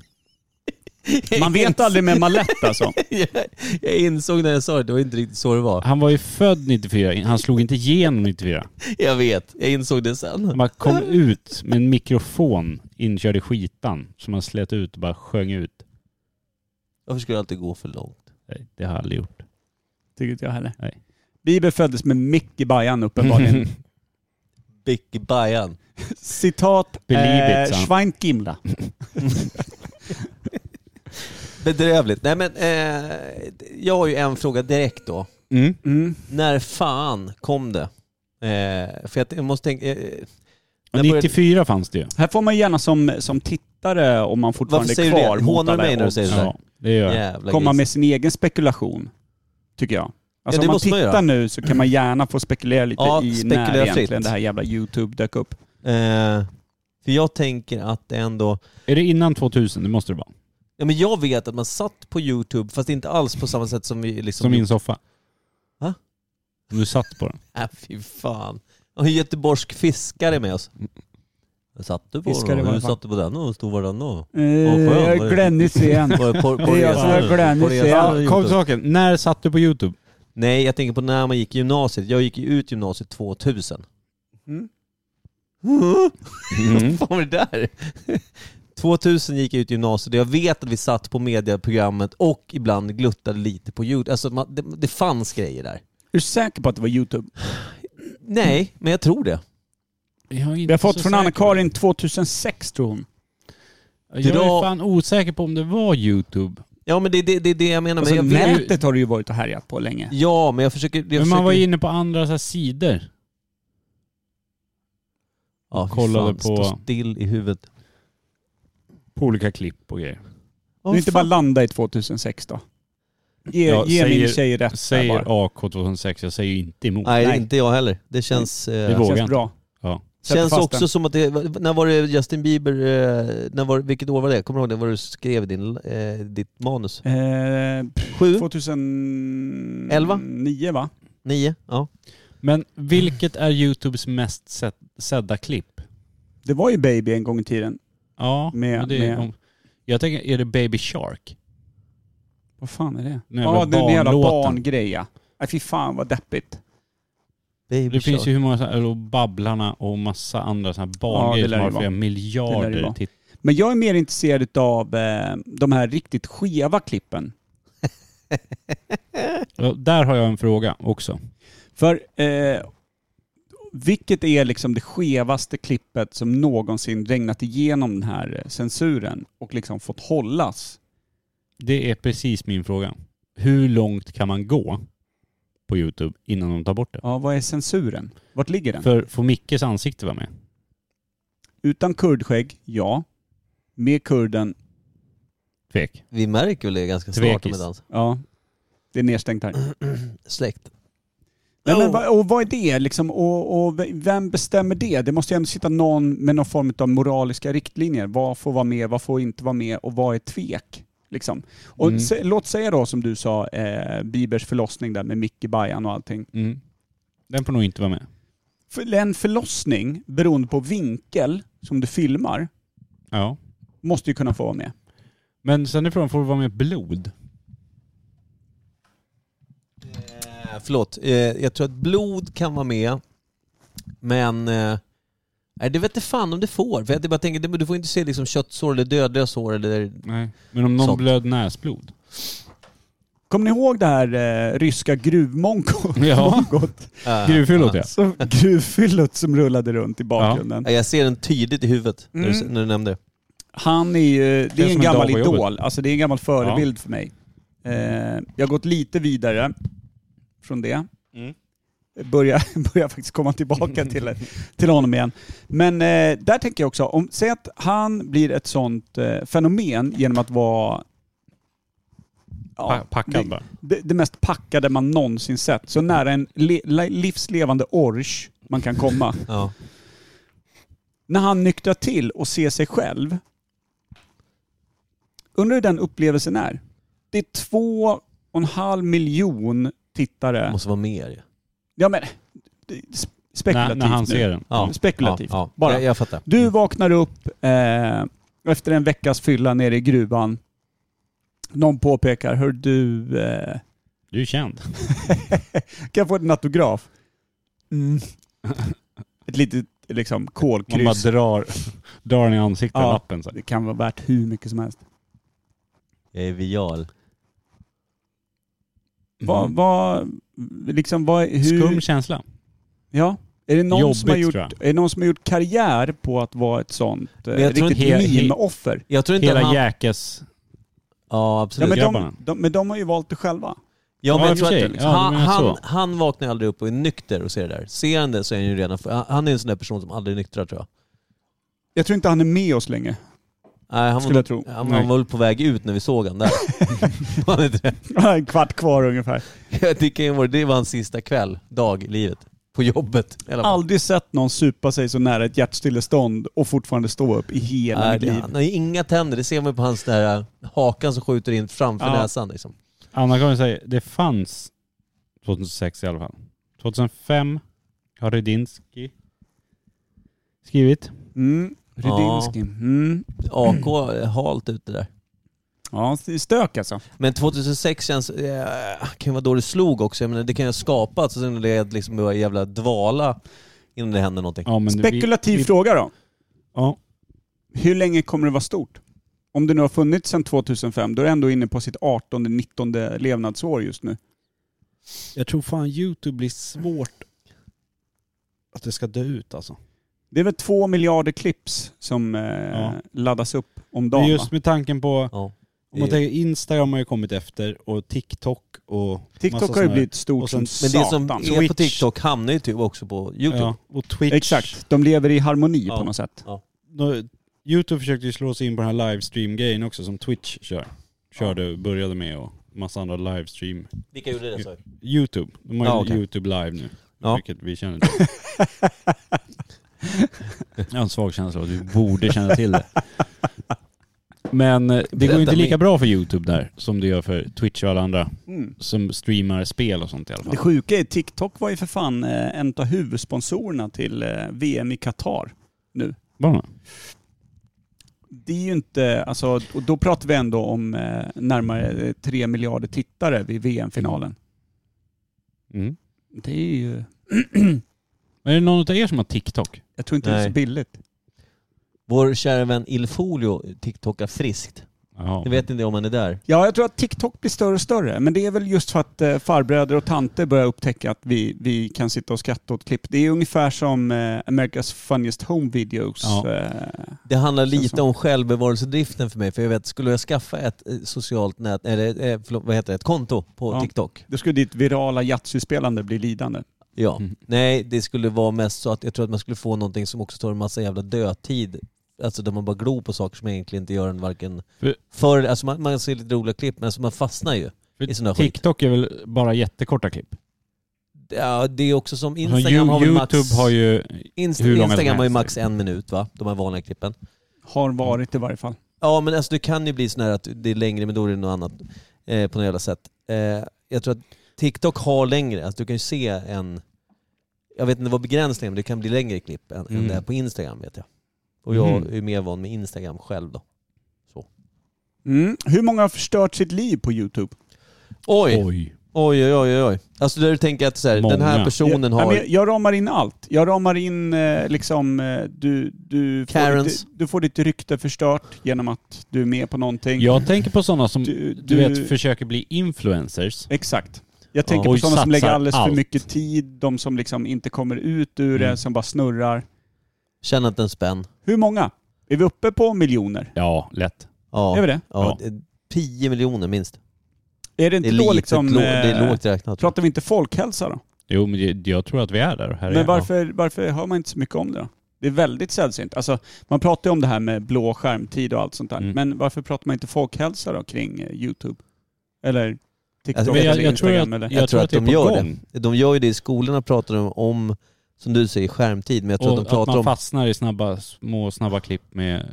[SPEAKER 3] Man vet aldrig med Malett
[SPEAKER 1] [laughs]
[SPEAKER 3] alltså.
[SPEAKER 1] [laughs] jag insåg när jag sa det, det var inte riktigt så det var.
[SPEAKER 2] Han var ju född 94. Han slog inte igenom 94.
[SPEAKER 1] Jag vet, jag insåg det
[SPEAKER 2] Han
[SPEAKER 1] sen.
[SPEAKER 2] bara kom ut med en mikrofon inkörd i skitan som han slet ut och bara sjöng ut.
[SPEAKER 1] Varför skulle det alltid gå för långt?
[SPEAKER 2] Nej, det har jag aldrig gjort.
[SPEAKER 3] Tycker inte jag heller.
[SPEAKER 2] Nej.
[SPEAKER 3] Bieber föddes med mick i
[SPEAKER 2] [laughs]
[SPEAKER 1] [laughs]
[SPEAKER 3] bajan uppenbarligen.
[SPEAKER 1] Bicky Bajan.
[SPEAKER 3] Citat eh,
[SPEAKER 2] Believe it, sa han.
[SPEAKER 3] Schweinkimla.
[SPEAKER 1] Bedrövligt. Nej men, eh, jag har ju en fråga direkt då.
[SPEAKER 2] Mm.
[SPEAKER 3] Mm.
[SPEAKER 1] När fan kom det? Eh, för jag, jag måste tänka... Eh, när började-
[SPEAKER 2] 94 fanns det ju.
[SPEAKER 3] Här får man gärna som, som tittare, om man fortfarande
[SPEAKER 1] Varför säger
[SPEAKER 3] är
[SPEAKER 1] du
[SPEAKER 3] kvar
[SPEAKER 1] det?
[SPEAKER 3] mot
[SPEAKER 1] Hånar du
[SPEAKER 3] alla
[SPEAKER 1] mig när du
[SPEAKER 3] odds,
[SPEAKER 1] säger det där?
[SPEAKER 2] Ja, det gör jag.
[SPEAKER 1] Jävla
[SPEAKER 3] komma
[SPEAKER 1] gris.
[SPEAKER 3] med sin egen spekulation, tycker jag. Alltså
[SPEAKER 1] det
[SPEAKER 3] om man
[SPEAKER 1] måste man
[SPEAKER 3] tittar
[SPEAKER 1] göra.
[SPEAKER 3] nu så kan man gärna få spekulera lite
[SPEAKER 1] Ja,
[SPEAKER 3] i
[SPEAKER 1] spekulera
[SPEAKER 3] när egentligen
[SPEAKER 1] fritt.
[SPEAKER 3] det här jävla YouTube dök upp.
[SPEAKER 1] Eh, för jag tänker att det ändå...
[SPEAKER 2] Är det innan 2000? Det måste det vara.
[SPEAKER 1] Ja, men jag vet att man satt på YouTube, fast inte alls på samma sätt som vi... Liksom,
[SPEAKER 2] Som min soffa.
[SPEAKER 1] Va?
[SPEAKER 2] Om Du satt på den.
[SPEAKER 1] Äh, fy fan. Och en göteborgsk fiskare med oss. Vad satt du på
[SPEAKER 3] Fiskare
[SPEAKER 1] då?
[SPEAKER 3] var
[SPEAKER 1] Hur
[SPEAKER 3] det fan.
[SPEAKER 1] satt du på den och hur stor var den då?
[SPEAKER 3] Eh,
[SPEAKER 1] skön,
[SPEAKER 3] jag
[SPEAKER 1] vad
[SPEAKER 3] är
[SPEAKER 1] är- [laughs]
[SPEAKER 3] Glenn Hysén.
[SPEAKER 1] Var det på, på
[SPEAKER 3] Det är alltså, jag
[SPEAKER 1] resan?
[SPEAKER 3] som är glad,
[SPEAKER 1] På
[SPEAKER 3] nu
[SPEAKER 1] resan
[SPEAKER 3] ser jag.
[SPEAKER 1] eller
[SPEAKER 2] Kom till
[SPEAKER 1] YouTube?
[SPEAKER 2] saken. När satt du på YouTube?
[SPEAKER 1] Nej, jag tänker på när man gick i gymnasiet. Jag gick ju ut gymnasiet
[SPEAKER 3] [laughs]
[SPEAKER 1] 2000.
[SPEAKER 3] Mm.
[SPEAKER 2] [laughs]
[SPEAKER 1] [laughs] Vad fan var det där? 2000 gick jag ut gymnasiet och jag vet att vi satt på mediaprogrammet och ibland gluttade lite på Youtube. Alltså man, det, det fanns grejer där.
[SPEAKER 3] Är du säker på att det var YouTube?
[SPEAKER 1] Nej,
[SPEAKER 3] Mm.
[SPEAKER 1] men jag tror det.
[SPEAKER 3] Vi har fått från Anna-Karin 2006 tror hon.
[SPEAKER 2] Jag
[SPEAKER 1] Dra-
[SPEAKER 2] är fan osäker på om det var YouTube.
[SPEAKER 1] Ja men det är det, det, är det jag menar.
[SPEAKER 3] Alltså,
[SPEAKER 1] men jag vet,
[SPEAKER 3] nätet har du ju varit och härjat på länge.
[SPEAKER 1] ja men jag försöker... Jag
[SPEAKER 2] Men
[SPEAKER 1] försöker
[SPEAKER 2] man var inne på andra så här sidor.
[SPEAKER 1] ja, fy
[SPEAKER 2] kollade
[SPEAKER 1] fan,
[SPEAKER 2] på-
[SPEAKER 1] Stå still i huvudet.
[SPEAKER 2] På olika klipp och grejer.
[SPEAKER 1] Åh,
[SPEAKER 3] du inte bara
[SPEAKER 1] fan.
[SPEAKER 3] landa i 2006 då. Ge,
[SPEAKER 2] Jag
[SPEAKER 3] ge
[SPEAKER 2] säger-
[SPEAKER 3] min tjej rätt
[SPEAKER 2] Säger
[SPEAKER 3] där bara.
[SPEAKER 2] AK 2006, jag säger ju inte emot.
[SPEAKER 1] Nej,
[SPEAKER 3] Nej.
[SPEAKER 1] inte jag heller. Det känns... eh,
[SPEAKER 2] Det vågar
[SPEAKER 3] Känns
[SPEAKER 2] inte.
[SPEAKER 3] bra.
[SPEAKER 2] Ja.
[SPEAKER 3] Sätter
[SPEAKER 1] Känns
[SPEAKER 3] fast
[SPEAKER 1] också
[SPEAKER 3] den.
[SPEAKER 1] som att det, när var det Justin Bieber, eh, när var, vilket år var det? Kommer du ihåg det? Vad du skrev i din, eh, ditt manus?
[SPEAKER 3] Eh,
[SPEAKER 1] Sju?
[SPEAKER 3] 2011? 9 va?
[SPEAKER 1] Nio? Ja.
[SPEAKER 2] Men vilket är YouTubes mest sett, sedda klipp?
[SPEAKER 3] Det var ju Baby en gång i tiden.
[SPEAKER 2] Ja,
[SPEAKER 3] Med-
[SPEAKER 2] men det är,
[SPEAKER 3] med-
[SPEAKER 2] om, jag tänker, är det Baby Shark?
[SPEAKER 3] Vad fan är det?
[SPEAKER 2] Den
[SPEAKER 3] Ja,
[SPEAKER 2] jävla
[SPEAKER 3] ah, den jävla
[SPEAKER 2] barnlåten.
[SPEAKER 3] barngrej ja. Nej fy fan vad deppigt.
[SPEAKER 1] Baby
[SPEAKER 2] Det finns
[SPEAKER 1] Shark.
[SPEAKER 2] ju hur många, så här- och Babblarna och massa andra sådana här
[SPEAKER 3] Ja, det
[SPEAKER 2] barngrejer
[SPEAKER 3] lär
[SPEAKER 2] som har
[SPEAKER 3] det vara.
[SPEAKER 2] flera
[SPEAKER 3] Det lär det
[SPEAKER 2] miljarder
[SPEAKER 3] vara.
[SPEAKER 2] titt-
[SPEAKER 3] Men jag är mer intresserad av eh, de här riktigt skeva klippen.
[SPEAKER 2] Ja, Där har jag en fråga också.
[SPEAKER 3] För eh, vilket är liksom det skevaste klippet som någonsin regnat igenom den här eh, censuren och liksom fått hållas?
[SPEAKER 2] Det är precis min fråga. Hur långt kan man gå på YouTube innan de tar bort det?
[SPEAKER 3] Ja, vad är censuren? Vart ligger den?
[SPEAKER 2] För får Mickes ansikte vara med?
[SPEAKER 3] Utan kurdskägg, ja. Med kurden,
[SPEAKER 2] Tvek.
[SPEAKER 1] Vi märker väl det ganska snart om
[SPEAKER 2] Tvekis.
[SPEAKER 1] ett dans.
[SPEAKER 3] ja. Det är nedstängt här.
[SPEAKER 1] Släkt.
[SPEAKER 3] Nej, men, vad- och vad är det liksom? Och, och vem bestämmer det? Det måste ju ändå sitta någon med någon form av moraliska riktlinjer. Vad får vara med, vad får inte vara med och vad är tvek? Liksom. Och
[SPEAKER 2] Mm.
[SPEAKER 3] sä, låt säga då som du sa, eh, Bibers förlossning där med Micke Bajan och allting.
[SPEAKER 2] Mm. Den får nog inte vara med.
[SPEAKER 3] För en förlossning, beroende på vinkel som du filmar,
[SPEAKER 2] Ja.
[SPEAKER 3] måste ju kunna få vara med.
[SPEAKER 2] Men sen är frågan, får du vara med blod?
[SPEAKER 1] Eh, förlåt. Eh, jag tror att blod kan vara med, men... Eh, nej, det vet jag fan om det får. För jag typ bara tänker, det- du får inte se liksom köttsår eller dödliga sår eller...
[SPEAKER 2] Nej. Men om någon
[SPEAKER 1] Sånt.
[SPEAKER 2] blöd näsblod?
[SPEAKER 3] Kommer ni ihåg det här eh, ryska gruvmongot?
[SPEAKER 2] Ja. [laughs]
[SPEAKER 3] [laughs] mongot?
[SPEAKER 1] Äh,
[SPEAKER 2] Gruvfyllot ja.
[SPEAKER 3] Som- Gruvfyllot som rullade runt i bakgrunden.
[SPEAKER 1] ja. Jag ser den tydligt i huvudet när, du,
[SPEAKER 3] Mm.
[SPEAKER 1] när du nämnde det.
[SPEAKER 3] Han är ju, eh, det
[SPEAKER 2] Känns
[SPEAKER 3] är en
[SPEAKER 2] som en
[SPEAKER 3] gammal
[SPEAKER 2] dag på jobbet.
[SPEAKER 3] idol, alltså det är en gammal förebild för mig. Eh, jag har gått lite vidare från det.
[SPEAKER 2] Mm.
[SPEAKER 3] Börjar, börjar [laughs] faktiskt komma tillbaka till, eh, till honom igen. Men eh, där tänker jag också, om, säg att han blir ett sånt eh, fenomen genom att vara ja,
[SPEAKER 2] Pa- packad
[SPEAKER 3] det,
[SPEAKER 2] bara.
[SPEAKER 3] det, det mest packade man någonsin sett. Så nära en le, le, livslevande orch man kan komma.
[SPEAKER 1] Ja.
[SPEAKER 3] när han nyktrar till och ser sig själv. Undrar hur den upplevelsen är. Det är två och en halv miljon
[SPEAKER 1] Det
[SPEAKER 3] tittare.
[SPEAKER 1] måste vara mer. Ja.
[SPEAKER 3] Ja men, det är sp-
[SPEAKER 2] När,
[SPEAKER 3] spekulativt
[SPEAKER 2] när han
[SPEAKER 3] nu.
[SPEAKER 2] ser den.
[SPEAKER 1] Ja.
[SPEAKER 3] Spekulativt.
[SPEAKER 1] Ja, ja.
[SPEAKER 3] Bara.
[SPEAKER 1] Jag, jag fattar.
[SPEAKER 3] Du vaknar upp eh, efter en veckas fylla nere i gruvan. Någon påpekar, hör du, eh,
[SPEAKER 2] Du är känd.
[SPEAKER 3] kan jag få din autograf? Mm. [laughs] Ett litet liksom
[SPEAKER 2] Man
[SPEAKER 3] kolkryss.
[SPEAKER 2] bara drar, drar den i ansiktet
[SPEAKER 3] Ja.
[SPEAKER 2] lappen så här.
[SPEAKER 3] Det kan vara värt hur mycket som helst.
[SPEAKER 1] Jag är vial.
[SPEAKER 3] Vad,
[SPEAKER 1] Mm.
[SPEAKER 3] vad, liksom vad, hur...
[SPEAKER 2] Mm. Skum känsla.
[SPEAKER 3] Ja. Är det, någon
[SPEAKER 2] Jobbigt,
[SPEAKER 3] som har gjort,
[SPEAKER 2] tror
[SPEAKER 3] är
[SPEAKER 2] jag.
[SPEAKER 3] det någon som har gjort karriär på att vara ett sånt eh,
[SPEAKER 1] jag tror
[SPEAKER 3] riktigt
[SPEAKER 2] inte- he- he-
[SPEAKER 3] meme-offer?
[SPEAKER 1] Jag tror inte att
[SPEAKER 2] Hela
[SPEAKER 1] han...
[SPEAKER 2] Jäkes...
[SPEAKER 1] Ja,
[SPEAKER 3] Ja,
[SPEAKER 1] absolut.
[SPEAKER 3] men, de,
[SPEAKER 2] grabbarna.
[SPEAKER 3] de, men de har ju valt det själva.
[SPEAKER 1] Ja,
[SPEAKER 2] Ja, i
[SPEAKER 1] men jag
[SPEAKER 2] och för
[SPEAKER 1] tror
[SPEAKER 2] sig.
[SPEAKER 1] att
[SPEAKER 2] Ja,
[SPEAKER 1] han,
[SPEAKER 2] du menar så.
[SPEAKER 1] han, han vaknar aldrig upp och är nykter och ser det där. Ser han det så är han ju redan... för- Han är en sån där person som aldrig nyktrar tror jag.
[SPEAKER 3] Jag tror inte han är med oss länge,
[SPEAKER 1] Nej, han,
[SPEAKER 3] skulle
[SPEAKER 1] var,
[SPEAKER 3] jag tro.
[SPEAKER 1] han, han var väl på väg ut när vi såg
[SPEAKER 2] [laughs]
[SPEAKER 1] han där. Var han inte det?
[SPEAKER 3] [laughs] en kvart kvar ungefär.
[SPEAKER 1] Jag tycker det var- det var hans sista kväll, dag i livet. På jobbet. Eller
[SPEAKER 3] Aldrig sett någon supa sig så nära ett hjärtstillestånd och fortfarande stå upp i hela
[SPEAKER 1] Nej,
[SPEAKER 3] mitt
[SPEAKER 1] det,
[SPEAKER 3] liv.
[SPEAKER 1] han har ju inga tänder, det ser man ju på hans där eh, hakan som skjuter in framför
[SPEAKER 3] Ja.
[SPEAKER 1] näsan liksom.
[SPEAKER 2] Anna-Karin säger, det fanns 2006 i alla fall. 2005 har Rydinski skrivit.
[SPEAKER 3] Mm.
[SPEAKER 1] Ja.
[SPEAKER 3] Rydinski. Mm.
[SPEAKER 1] AK är halt ute där.
[SPEAKER 3] Ja, det är stök alltså.
[SPEAKER 1] Men 2006 känns... Eh, kan ju vara då det slog också. Jag menar, det kan ju ha skapats och sen led liksom en jävla dvala innan det hände någonting.
[SPEAKER 2] Ja, men vi-
[SPEAKER 3] Spekulativ
[SPEAKER 2] vi-
[SPEAKER 3] fråga då.
[SPEAKER 2] Ja.
[SPEAKER 3] hur länge kommer det vara stort? Om det nu har funnits sedan 2005, då är det ändå inne på sitt 18-19 levnadsår just nu.
[SPEAKER 2] Jag tror fan YouTube blir svårt att det ska dö ut alltså.
[SPEAKER 3] Det är väl två miljarder clips som eh,
[SPEAKER 2] Ja.
[SPEAKER 3] laddas upp om dagen
[SPEAKER 2] Men
[SPEAKER 3] va?
[SPEAKER 2] just med tanken på,
[SPEAKER 1] Ja. Eh,
[SPEAKER 2] om man tänker Instagram har ju kommit efter och TikTok och massa
[SPEAKER 3] TikTok har
[SPEAKER 2] såna
[SPEAKER 3] ju
[SPEAKER 2] här-
[SPEAKER 3] blivit stort
[SPEAKER 2] och sen-
[SPEAKER 3] som
[SPEAKER 1] Men det som
[SPEAKER 3] satan.
[SPEAKER 1] är på
[SPEAKER 2] Twitch.
[SPEAKER 1] TikTok hamnar ju typ också på YouTube.
[SPEAKER 2] Ja, och Twitch.
[SPEAKER 3] Exakt, de lever i harmoni
[SPEAKER 1] Ja.
[SPEAKER 3] på något sätt.
[SPEAKER 2] Nå- Youtube försökte ju slå sig in på den här livestream-grejen också som Twitch kör. Körde, började med och massa andra livestream.
[SPEAKER 1] Vilka gjorde det sa du?
[SPEAKER 2] Youtube, de har ju
[SPEAKER 1] Ja, okej.
[SPEAKER 2] Youtube live nu.
[SPEAKER 1] Ja.
[SPEAKER 2] Vilket vi känner
[SPEAKER 1] [laughs]
[SPEAKER 2] till. Jag har en svag känsla av att vi borde känna till det. Men eh, det går
[SPEAKER 1] Berätta
[SPEAKER 2] ju inte lika
[SPEAKER 1] mer.
[SPEAKER 2] bra för Youtube där som det gör för Twitch och alla andra
[SPEAKER 3] Mm.
[SPEAKER 2] som streamar spel och sånt i alla
[SPEAKER 3] Det
[SPEAKER 2] fall.
[SPEAKER 3] sjuka är TikTok var ju för fan eh, en av huvudsponsorerna till eh, VM i Qatar.
[SPEAKER 2] Bara.
[SPEAKER 3] Det är ju inte, alltså, och då pratar vi ändå om eh, närmare eh, 3 miljarder tittare vid VM-finalen.
[SPEAKER 2] Mm.
[SPEAKER 3] Det är ju,
[SPEAKER 2] Är det någon av er som har TikTok?
[SPEAKER 3] jag tror inte det är
[SPEAKER 1] Nej.
[SPEAKER 3] så billigt.
[SPEAKER 1] Vår kära vän Ilfolio TikTokar friskt.
[SPEAKER 2] Ja.
[SPEAKER 1] Jag vet inte om han är där.
[SPEAKER 3] Ja, jag tror att TikTok blir större och större, men det är väl just för att eh, farbröder och tanter börjar upptäcka att vi, vi kan sitta och skratta åt klipp. Det är ungefär som eh, America's Funniest Home Videos.
[SPEAKER 2] Ja.
[SPEAKER 3] Eh,
[SPEAKER 1] Det handlar
[SPEAKER 3] Känns
[SPEAKER 1] lite
[SPEAKER 3] som.
[SPEAKER 1] om självbevarelsedriften för mig. För jag vet, skulle jag skaffa ett eh, socialt nät, eller eh, förlåt, vad heter det, ett konto på
[SPEAKER 3] Ja.
[SPEAKER 1] TikTok?
[SPEAKER 3] då skulle ditt virala Yatzy-spelande bli lidande.
[SPEAKER 1] Ja.
[SPEAKER 2] Mm.
[SPEAKER 1] Nej, det skulle vara mest så att jag tror att man skulle få någonting som också tar en massa jävla dödtid. Alltså där man bara glor på saker som egentligen inte gör en varken
[SPEAKER 2] För-
[SPEAKER 1] för, Alltså man, man ser lite roliga klipp men alltså man fastnar ju.
[SPEAKER 2] För
[SPEAKER 1] i sån här skit.
[SPEAKER 2] TikTok är väl bara jättekorta klipp?
[SPEAKER 1] Ja, det är också som
[SPEAKER 2] Alltså,
[SPEAKER 1] Instagram har väl max...
[SPEAKER 2] Youtube har ju
[SPEAKER 1] Inst-
[SPEAKER 2] hur långa som
[SPEAKER 1] Instagram har ju
[SPEAKER 2] helst.
[SPEAKER 1] max en minut va? De här vanliga klippen.
[SPEAKER 3] Har varit i varje fall.
[SPEAKER 1] Ja men alltså det kan ju bli sån här att det är längre men då är det något annat eh, på något jävla sätt. Eh, jag tror att TikTok har längre, alltså du kan ju se en... Jag vet inte vad begränsningen är men det kan bli längre klipp än, än
[SPEAKER 2] Mm.
[SPEAKER 1] det här på Instagram vet jag. Och jag
[SPEAKER 2] Mhm.
[SPEAKER 1] är mer van med Instagram själv då.
[SPEAKER 3] Mm. Hur många har förstört sitt liv på YouTube?
[SPEAKER 1] Oj! Oj
[SPEAKER 2] Oj.
[SPEAKER 1] oj oj oj. oj. Alltså där du tänker att så här, den här
[SPEAKER 2] Många.
[SPEAKER 1] personen
[SPEAKER 3] jag,
[SPEAKER 1] har...
[SPEAKER 3] jag, jag ramar in allt. Jag ramar in eh, liksom, eh, du, du, får
[SPEAKER 1] Karens.
[SPEAKER 3] ditt, du får ditt rykte förstört genom att du är med på någonting.
[SPEAKER 2] Jag tänker på sådana som du,
[SPEAKER 3] Du- du-
[SPEAKER 2] vet försöker bli influencers.
[SPEAKER 3] Exakt. Jag tänker på
[SPEAKER 2] Och
[SPEAKER 3] sådana som
[SPEAKER 2] satsar
[SPEAKER 3] lägger alldeles
[SPEAKER 2] allt.
[SPEAKER 3] för mycket tid, de som liksom inte kommer ut ur
[SPEAKER 2] Mm.
[SPEAKER 3] det, som bara snurrar.
[SPEAKER 1] Känner inte en spänn.
[SPEAKER 3] Hur många? Är vi uppe på miljoner?
[SPEAKER 2] Ja, lätt.
[SPEAKER 1] Ja.
[SPEAKER 3] Är vi det?
[SPEAKER 1] Ja, det är 10 miljoner minst.
[SPEAKER 3] Är det
[SPEAKER 1] Det
[SPEAKER 3] inte
[SPEAKER 1] är,
[SPEAKER 3] då
[SPEAKER 1] lite,
[SPEAKER 3] liksom...
[SPEAKER 1] lå- det är
[SPEAKER 3] eh,
[SPEAKER 1] lågt räknat.
[SPEAKER 3] Pratar vi inte folkhälsa då?
[SPEAKER 2] Jo, men jag, jag tror att vi är där. Här är
[SPEAKER 3] Men
[SPEAKER 2] jag.
[SPEAKER 3] varför, varför hör man inte så mycket om det då? Det är väldigt sällsynt. Alltså, man pratar ju om det här med blå skärmtid och allt sånt där.
[SPEAKER 2] Mm.
[SPEAKER 3] Men varför pratar man inte folkhälsa då kring eh, YouTube? Eller TikTok
[SPEAKER 1] Alltså, men
[SPEAKER 3] eller
[SPEAKER 1] jag-
[SPEAKER 2] jag tror
[SPEAKER 3] Instagram? eller?
[SPEAKER 2] Jag, tror att,
[SPEAKER 1] de
[SPEAKER 2] det är på
[SPEAKER 1] gör
[SPEAKER 2] gång.
[SPEAKER 1] det. De gör ju det i skolorna pratar de om, som du säger, skärmtid. Men jag tror
[SPEAKER 2] Och
[SPEAKER 1] att
[SPEAKER 2] att,
[SPEAKER 1] de pratar
[SPEAKER 2] man
[SPEAKER 1] om...
[SPEAKER 2] fastnar i snabba, små snabba klipp med...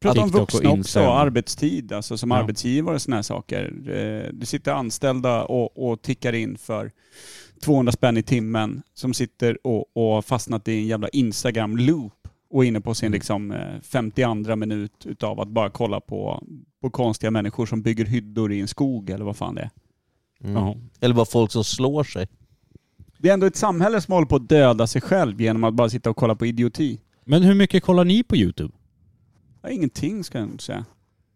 [SPEAKER 3] Prata om
[SPEAKER 2] TikTok och
[SPEAKER 3] vuxna också,
[SPEAKER 2] Instagram.
[SPEAKER 3] arbetstid, alltså som
[SPEAKER 2] Ja.
[SPEAKER 3] arbetsgivare och sådana här saker. Eh, Det sitter anställda och, och tickar in för 200 spänn i timmen som sitter och, och har fastnat i en jävla Instagram-loop och är inne på sin liksom eh, 52 minut utav att bara kolla på, på konstiga människor som bygger hyddor i en skog eller vad fan det är.
[SPEAKER 1] Mm.
[SPEAKER 2] Ja.
[SPEAKER 1] Eller bara folk som slår sig.
[SPEAKER 3] Det är ändå ett samhälle som håller på att döda sig själv genom att bara sitta och kolla på idioti.
[SPEAKER 2] Men hur mycket kollar ni på YouTube?
[SPEAKER 3] Ja, ingenting ska jag nog säga.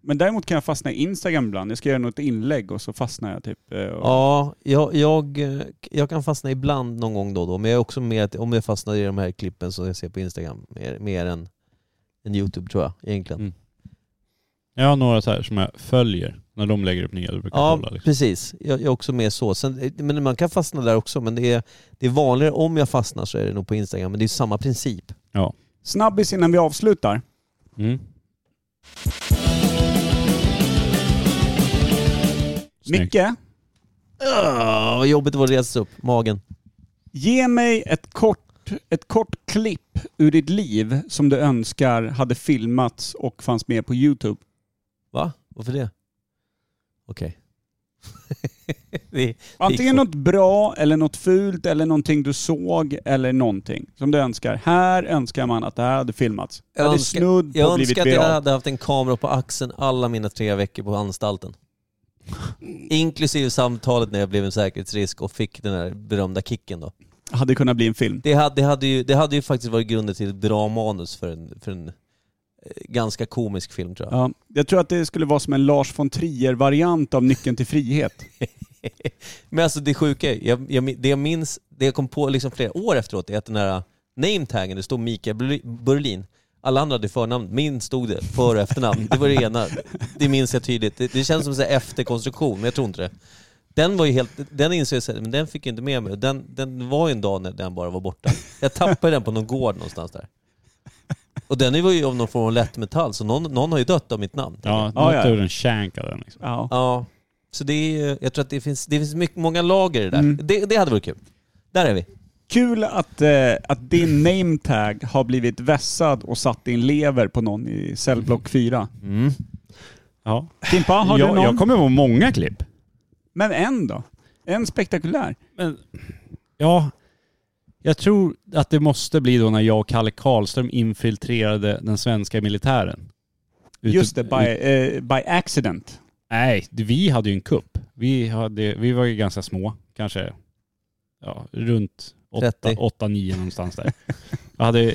[SPEAKER 3] Men däremot kan jag fastna i Instagram ibland. Jag ska göra något inlägg och så fastnar jag typ. eh, och-
[SPEAKER 1] Ja, jag, jag, eh, jag kan fastna ibland någon gång då och då. Men jag är också mer att om jag fastnar i de här klippen som jag ser på Instagram, mer, mer än, än YouTube tror jag egentligen.
[SPEAKER 2] Mm. Jag har några så här som jag följer när de lägger upp nya. Jag brukar
[SPEAKER 1] Ja,
[SPEAKER 2] kolla liksom.
[SPEAKER 1] precis. Jag, jag är också med så. Sen, eh, men man kan fastna där också, men det är, det är vanligare om jag fastnar så är det nog på Instagram. Men det är samma princip.
[SPEAKER 3] Snabbis innan vi avslutar.
[SPEAKER 2] Mm. Snyggt.
[SPEAKER 3] Micke,
[SPEAKER 1] Öh, vad jobbigt det var att resa sig upp. Magen.
[SPEAKER 3] ge mig ett kort, ett kort klipp ur ditt liv som du önskar hade filmats och fanns med på YouTube.
[SPEAKER 1] Va? Varför det? Okej. [laughs] Det-
[SPEAKER 3] Antingen
[SPEAKER 1] fort.
[SPEAKER 3] något bra eller något fult eller någonting du såg eller någonting som du önskar. Här önskar man att det här hade filmats. Det
[SPEAKER 1] Jag
[SPEAKER 3] hade
[SPEAKER 1] önskar-
[SPEAKER 3] snudd på
[SPEAKER 1] jag
[SPEAKER 3] blivit
[SPEAKER 1] önskar att jag
[SPEAKER 3] viralt.
[SPEAKER 1] hade haft en kamera på axeln alla mina tre veckor på anstalten. Inklusive samtalet när jag blev en säkerhetsrisk och fick den där berömda kicken då.
[SPEAKER 3] Hade kunnat bli en film.
[SPEAKER 1] Det hade, det hade, ju, det hade ju faktiskt varit grunden till ett bra manus för en, för en eh, ganska komisk film tror jag.
[SPEAKER 3] Ja, jag tror att det skulle vara som en Lars von Trier-variant av Nyckeln till frihet.
[SPEAKER 1] [laughs] Men alltså det sjuka är, jag, jag, min- det jag minns, det jag kom på liksom flera år efteråt är att den här uh, nametaggen, det stod Mikael Burli- Berlin. Alla andra hade förnamn, min stod det, för och efternamn. Det var det ena. Det minns jag tydligt. Det, det känns som en efterkonstruktion, men jag tror inte det. Den var ju helt, den insåg jag sen, men den fick jag inte med mig. Den, den var ju en dag när den bara var borta. Jag tappade den på någon gård någonstans där. Och den var ju av någon form av lättmetall, så någon, någon har ju dött av mitt namn.
[SPEAKER 2] Ja,
[SPEAKER 3] Ja, ja.
[SPEAKER 2] naturen shankade den liksom.
[SPEAKER 3] Ja.
[SPEAKER 1] Ja, så det är ju, jag tror att det finns, det finns mycket, många lager i det där.
[SPEAKER 3] Mm.
[SPEAKER 1] Det, det hade varit kul. Där är vi.
[SPEAKER 3] Kul att, eh, att din nametag har blivit vässad och satt i en lever på någon i cellblock 4.
[SPEAKER 1] Mm.
[SPEAKER 2] Ja.
[SPEAKER 3] Kimpa, har du
[SPEAKER 2] jag,
[SPEAKER 3] någon?
[SPEAKER 2] jag kommer ihåg många klipp.
[SPEAKER 3] Men en då? En spektakulär.
[SPEAKER 2] Men, ja, jag tror att det måste bli då när jag och Kalle Karlström infiltrerade den svenska militären. Ute-
[SPEAKER 3] Just det, by, eh, by accident.
[SPEAKER 2] Nej, vi hade ju en kupp. Vi, hade, vi var ju ganska små, kanske ja, runt
[SPEAKER 1] 30.
[SPEAKER 2] 8-9 någonstans där. Jag hade,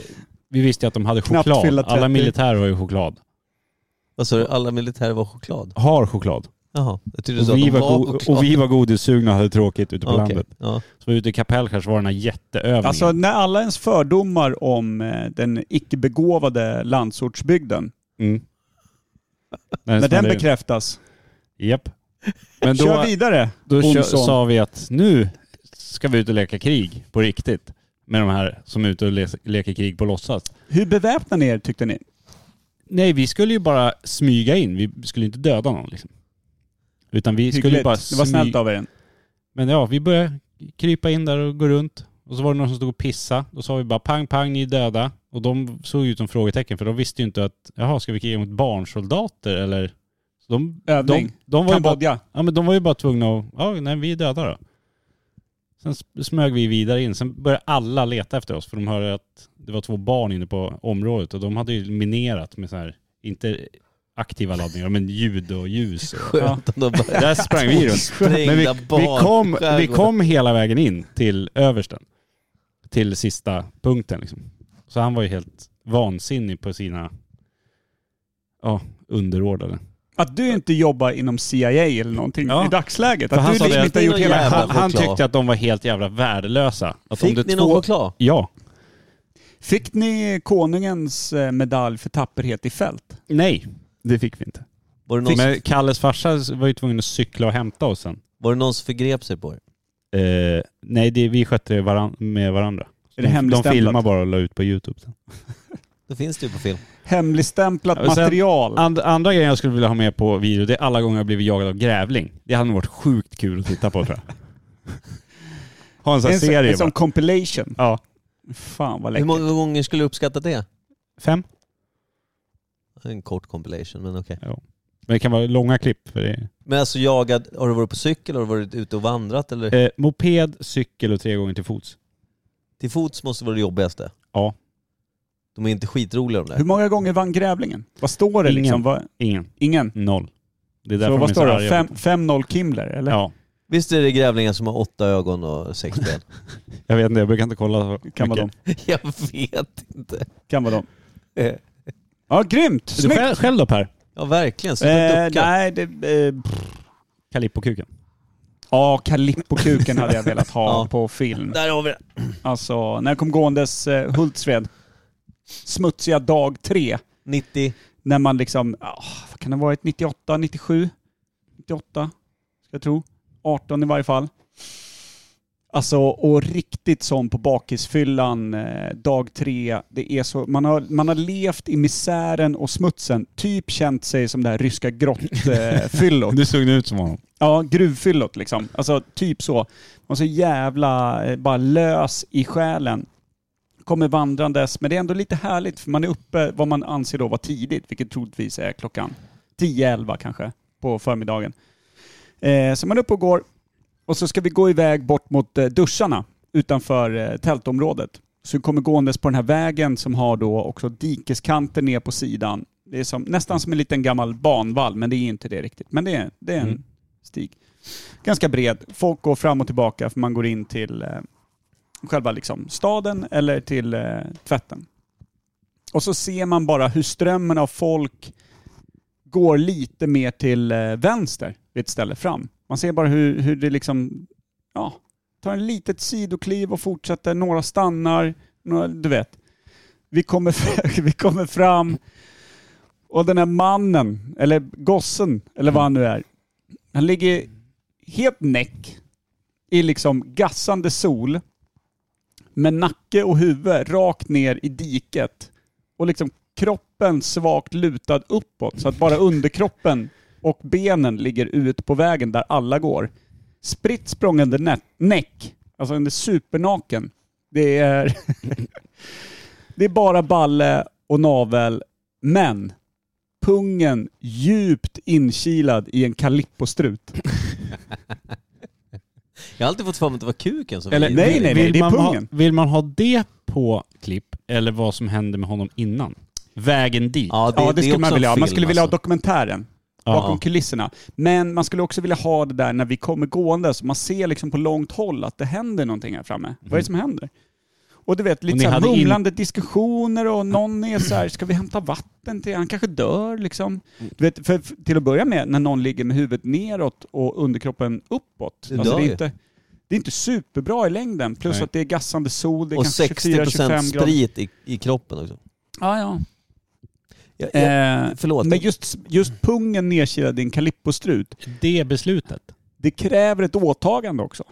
[SPEAKER 2] vi visste ju att de hade
[SPEAKER 3] Knappt
[SPEAKER 2] choklad.
[SPEAKER 3] fyllda 30.
[SPEAKER 2] Alla militärer har ju choklad.
[SPEAKER 1] Vad sa du? Alla militärer var choklad?
[SPEAKER 2] Har choklad.
[SPEAKER 1] Jaha, jag tyckte du sa
[SPEAKER 2] Och vi,
[SPEAKER 1] att de
[SPEAKER 2] var
[SPEAKER 1] var
[SPEAKER 2] go- och vi var godissugna och hade tråkigt ute på
[SPEAKER 1] Okej,
[SPEAKER 2] landet.
[SPEAKER 1] Ja.
[SPEAKER 2] Så ute i Kapellskär så var den här jätteövningen.
[SPEAKER 3] Alltså när alla ens fördomar om eh, den icke-begåvade landsortsbygden,
[SPEAKER 2] mm.
[SPEAKER 3] när den
[SPEAKER 2] smällde in.
[SPEAKER 3] bekräftas,
[SPEAKER 2] Japp. Men då,
[SPEAKER 3] kör vidare
[SPEAKER 2] då kö-
[SPEAKER 3] Olsson.
[SPEAKER 2] sa vi att nu ska vi ut och leka krig på riktigt. Med de här som är ute och le- leker krig på låtsas.
[SPEAKER 3] Hur beväpnar ni er tyckte ni?
[SPEAKER 2] Nej, vi skulle ju bara smyga in. Vi skulle inte döda någon liksom. Utan vi skulle ju
[SPEAKER 3] Hyggligt.
[SPEAKER 2] bara
[SPEAKER 3] Det var
[SPEAKER 2] smy-
[SPEAKER 3] snällt av er.
[SPEAKER 2] Men ja, vi började krypa in där och gå runt. Och så var det någon som stod och pissa. Då sa vi bara pang, pang, ni är döda. Och de såg ut som frågetecken för de visste ju inte att jaha, ska vi kriga mot barnsoldater eller? Så de,
[SPEAKER 3] Övning.
[SPEAKER 2] de, de, var ju bara,
[SPEAKER 3] Kambodja.
[SPEAKER 2] ja, men de var ju bara tvungna att, ja nej vi är döda då. Sen s- smög vi vidare in. Sen började alla leta efter oss för de hörde att det var två barn inne på området och de hade ju minerat med så här, inte aktiva laddningar, men ljud och ljus. Och,
[SPEAKER 1] Skönt om de bara...
[SPEAKER 2] där sprang [laughs] vi runt.
[SPEAKER 1] Sprängda
[SPEAKER 2] Men vi, vi,
[SPEAKER 1] barn
[SPEAKER 2] kom,
[SPEAKER 1] i skärgården.
[SPEAKER 2] vi kom hela vägen in till översten. Till sista punkten liksom. Så han var ju helt vansinnig på sina ja, underordnade.
[SPEAKER 3] Att du inte jobbar inom CIA eller någonting
[SPEAKER 2] Ja.
[SPEAKER 3] i dagsläget.
[SPEAKER 2] För
[SPEAKER 3] Att
[SPEAKER 2] han
[SPEAKER 3] du
[SPEAKER 2] sa
[SPEAKER 3] liksom
[SPEAKER 2] det
[SPEAKER 3] inte har
[SPEAKER 1] att-
[SPEAKER 3] gjort hela...
[SPEAKER 1] Jävla
[SPEAKER 2] Han, han
[SPEAKER 1] choklad.
[SPEAKER 2] tyckte att de var helt jävla värdelösa. Att om
[SPEAKER 1] Fick
[SPEAKER 2] det
[SPEAKER 1] ni
[SPEAKER 2] två-
[SPEAKER 1] någon choklad?
[SPEAKER 2] Ja.
[SPEAKER 3] Fick ni konungens eh, medalj för tapperhet i fält?
[SPEAKER 2] Nej. Det fick vi inte.
[SPEAKER 1] Var det, någon,
[SPEAKER 2] Men Kalles farsa var ju tvungen att cykla och hämta oss sen.
[SPEAKER 1] var det någon som förgrep sig på er?
[SPEAKER 2] Eh, nej, det, vi skötte det varan, med varandra.
[SPEAKER 3] Är
[SPEAKER 2] De,
[SPEAKER 3] det
[SPEAKER 2] de
[SPEAKER 3] hemligstämplat?
[SPEAKER 2] filmade bara och la ut på YouTube sen.
[SPEAKER 1] Det finns det ju på film.
[SPEAKER 3] Hemligstämplat
[SPEAKER 2] Ja, och sen-
[SPEAKER 3] material.
[SPEAKER 2] And, andra grejen jag skulle vilja ha med på video, det är alla gånger jag blivit jagad av grävling. Det hade nog varit sjukt kul att titta på tror jag. [laughs] Ha en sån här
[SPEAKER 3] En, sån-
[SPEAKER 2] serie
[SPEAKER 3] en
[SPEAKER 2] bara.
[SPEAKER 3] sån compilation.
[SPEAKER 2] Ja.
[SPEAKER 3] Fan vad
[SPEAKER 1] Hur
[SPEAKER 3] läckert.
[SPEAKER 1] många gånger skulle du uppskatta det?
[SPEAKER 2] Fem.
[SPEAKER 1] En kort compilation, men okej.
[SPEAKER 2] Men det kan vara långa klipp. För det.
[SPEAKER 1] Men alltså jagad, har du varit på cykel? Har du varit ute och vandrat? Eller?
[SPEAKER 2] Eh, moped, cykel och tre gånger till fots.
[SPEAKER 1] Till fots måste vara det jobbigaste.
[SPEAKER 2] Ja.
[SPEAKER 1] De är inte skitroliga de där.
[SPEAKER 3] Hur många gånger vann grävlingen? Vad står det
[SPEAKER 2] Ingen.
[SPEAKER 3] liksom? Vad,
[SPEAKER 2] Ingen.
[SPEAKER 3] ingen.
[SPEAKER 2] Noll. Det är därför
[SPEAKER 3] Så
[SPEAKER 2] de är
[SPEAKER 3] vad står det?
[SPEAKER 2] arga.
[SPEAKER 3] Fem- 5-0 Kimler eller?
[SPEAKER 2] Ja.
[SPEAKER 1] Visst är det grävlingar som har åtta ögon och sex ben?
[SPEAKER 2] Jag vet inte, jag brukar inte kolla så
[SPEAKER 3] Kan vara dem.
[SPEAKER 2] mycket.
[SPEAKER 1] [laughs] Jag vet inte.
[SPEAKER 3] Kan vara dem.
[SPEAKER 1] Eh.
[SPEAKER 3] Ja, grymt!
[SPEAKER 2] Du
[SPEAKER 3] Snyggt!
[SPEAKER 2] själv, själv då Per?
[SPEAKER 1] Ja verkligen, sluta
[SPEAKER 3] Eh,
[SPEAKER 1] ducka.
[SPEAKER 3] nej, det... eh, pff.
[SPEAKER 2] Kalippokuken.
[SPEAKER 3] Ja, Kalippokuken hade jag velat ha
[SPEAKER 1] Ja.
[SPEAKER 3] på film.
[SPEAKER 1] Där har vi det.
[SPEAKER 3] Alltså, när jag kom gåendes eh, Hultsfred, smutsiga dag tre,
[SPEAKER 1] 90.
[SPEAKER 3] när man liksom, ah, vad kan det ha varit, 98, 97? 98, ska jag tro. 18 i varje fall. Alltså, och riktigt sån på bakisfyllan, eh, dag tre. Det är så, man har, man har levt i misären och smutsen, typ känt sig som det här ryska grottfyllot.
[SPEAKER 2] Du såg nu ut som honom.
[SPEAKER 3] Ja, gruvfyllot liksom. Alltså typ så. Och så jävla eh, bara lös i själen. Kommer vandrandes, men det är ändå lite härligt för man är uppe vad man anser då vara tidigt, vilket troligtvis är klockan 10-11 kanske på förmiddagen. Eh, så man är uppe och går och så ska vi gå iväg bort mot eh, duscharna utanför eh, tältområdet. Så vi kommer gåendes på den här vägen som har då också dikeskanter ner på sidan. Det är som, nästan som en liten gammal banvall, men det är inte det riktigt. Men det är, det är en
[SPEAKER 2] Mm.
[SPEAKER 3] stig. Ganska bred. Folk går fram och tillbaka för man går in till eh, själva liksom staden eller till eh, tvätten. Och så ser man bara hur strömmen av folk går lite mer till eh, vänster vid ett ställe fram. Man ser bara hur, hur det liksom, ja, tar en litet sidokliv och fortsätter. Några stannar, några, du vet. Vi kommer, [laughs] vi kommer fram och den här mannen, eller gossen, eller vad han nu är, han ligger helt näck i liksom gassande sol med nacke och huvud rakt ner i diket och liksom kroppen svagt lutad uppåt så att bara underkroppen och benen ligger ut på vägen där alla går. Spritt språngande nä- näck, alltså den är supernaken. Det är, [laughs] det är bara balle och navel, men pungen djupt inkilad i en kalippostrut.
[SPEAKER 1] Jag har alltid fått för mig att det var kuken som
[SPEAKER 3] Eller-
[SPEAKER 1] var
[SPEAKER 3] nej,
[SPEAKER 1] inne.
[SPEAKER 3] nej,
[SPEAKER 2] vill,
[SPEAKER 3] det är
[SPEAKER 2] man ha,
[SPEAKER 3] pungen.
[SPEAKER 2] vill man ha det på klipp eller vad som hände med honom innan? Vägen dit.
[SPEAKER 1] Ja, det,
[SPEAKER 3] Ja, det,
[SPEAKER 1] är
[SPEAKER 3] skulle man
[SPEAKER 1] också en
[SPEAKER 3] vilja ha. Man skulle
[SPEAKER 1] film,
[SPEAKER 3] vilja ha
[SPEAKER 1] alltså.
[SPEAKER 3] dokumentären bakom
[SPEAKER 1] Ja.
[SPEAKER 3] kulisserna. Men man skulle också vilja ha det där när vi kommer gående så man ser liksom på långt håll att det händer någonting här framme. Vad
[SPEAKER 1] Mhm.
[SPEAKER 3] är det som händer? Och du vet,
[SPEAKER 2] Och ni
[SPEAKER 3] lite så här
[SPEAKER 2] hade in-
[SPEAKER 3] mumlande diskussioner och någon är så här, ska vi hämta vatten till Han kanske dör liksom.
[SPEAKER 1] Mm.
[SPEAKER 3] Du vet, för, för, till att börja med, när någon ligger med huvudet neråt och underkroppen uppåt. Alltså,
[SPEAKER 1] Det dör
[SPEAKER 3] det,
[SPEAKER 1] ju.
[SPEAKER 3] är inte, det är inte superbra i längden. Plus
[SPEAKER 2] Nej.
[SPEAKER 3] att det är gassande sol, det är
[SPEAKER 1] Och
[SPEAKER 3] kanske
[SPEAKER 1] 60%
[SPEAKER 3] 24-25 grader.
[SPEAKER 1] sprit i, i kroppen också.
[SPEAKER 3] Ja, ja.
[SPEAKER 1] Jag, jag,
[SPEAKER 3] Eh,
[SPEAKER 1] förlåt.
[SPEAKER 3] Men just, just pungen nedkilad i en kalippostrut,
[SPEAKER 2] Det beslutet.
[SPEAKER 3] det kräver ett åtagande också.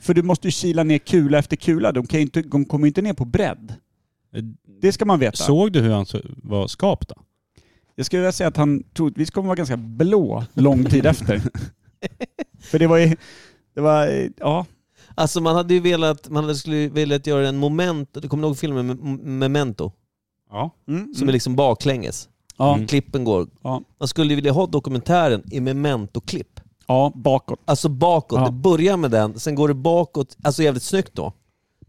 [SPEAKER 3] För du måste ju kila ner kula efter kula. De, kan ju inte, de kommer ju inte ner på bredd. Det ska man veta.
[SPEAKER 2] Såg du hur han så- var skapt då?
[SPEAKER 3] Jag skulle vilja säga att han troligtvis kommer vara ganska blå lång tid efter. För det var ju... Det var, eh, ja.
[SPEAKER 1] Alltså man hade ju velat, man hade skulle velat göra en moment, du kommer ihåg filmen Mem- Memento?
[SPEAKER 2] Ja.
[SPEAKER 3] Mm,
[SPEAKER 1] Som är liksom baklänges.
[SPEAKER 3] ja,
[SPEAKER 1] Klippen går.
[SPEAKER 3] Ja.
[SPEAKER 1] Man skulle ju vilja ha dokumentären i Memento-klipp.
[SPEAKER 3] ja, bakåt.
[SPEAKER 1] Alltså bakåt,
[SPEAKER 3] Ja.
[SPEAKER 1] det börjar med den, sen går det bakåt, alltså jävligt snyggt då.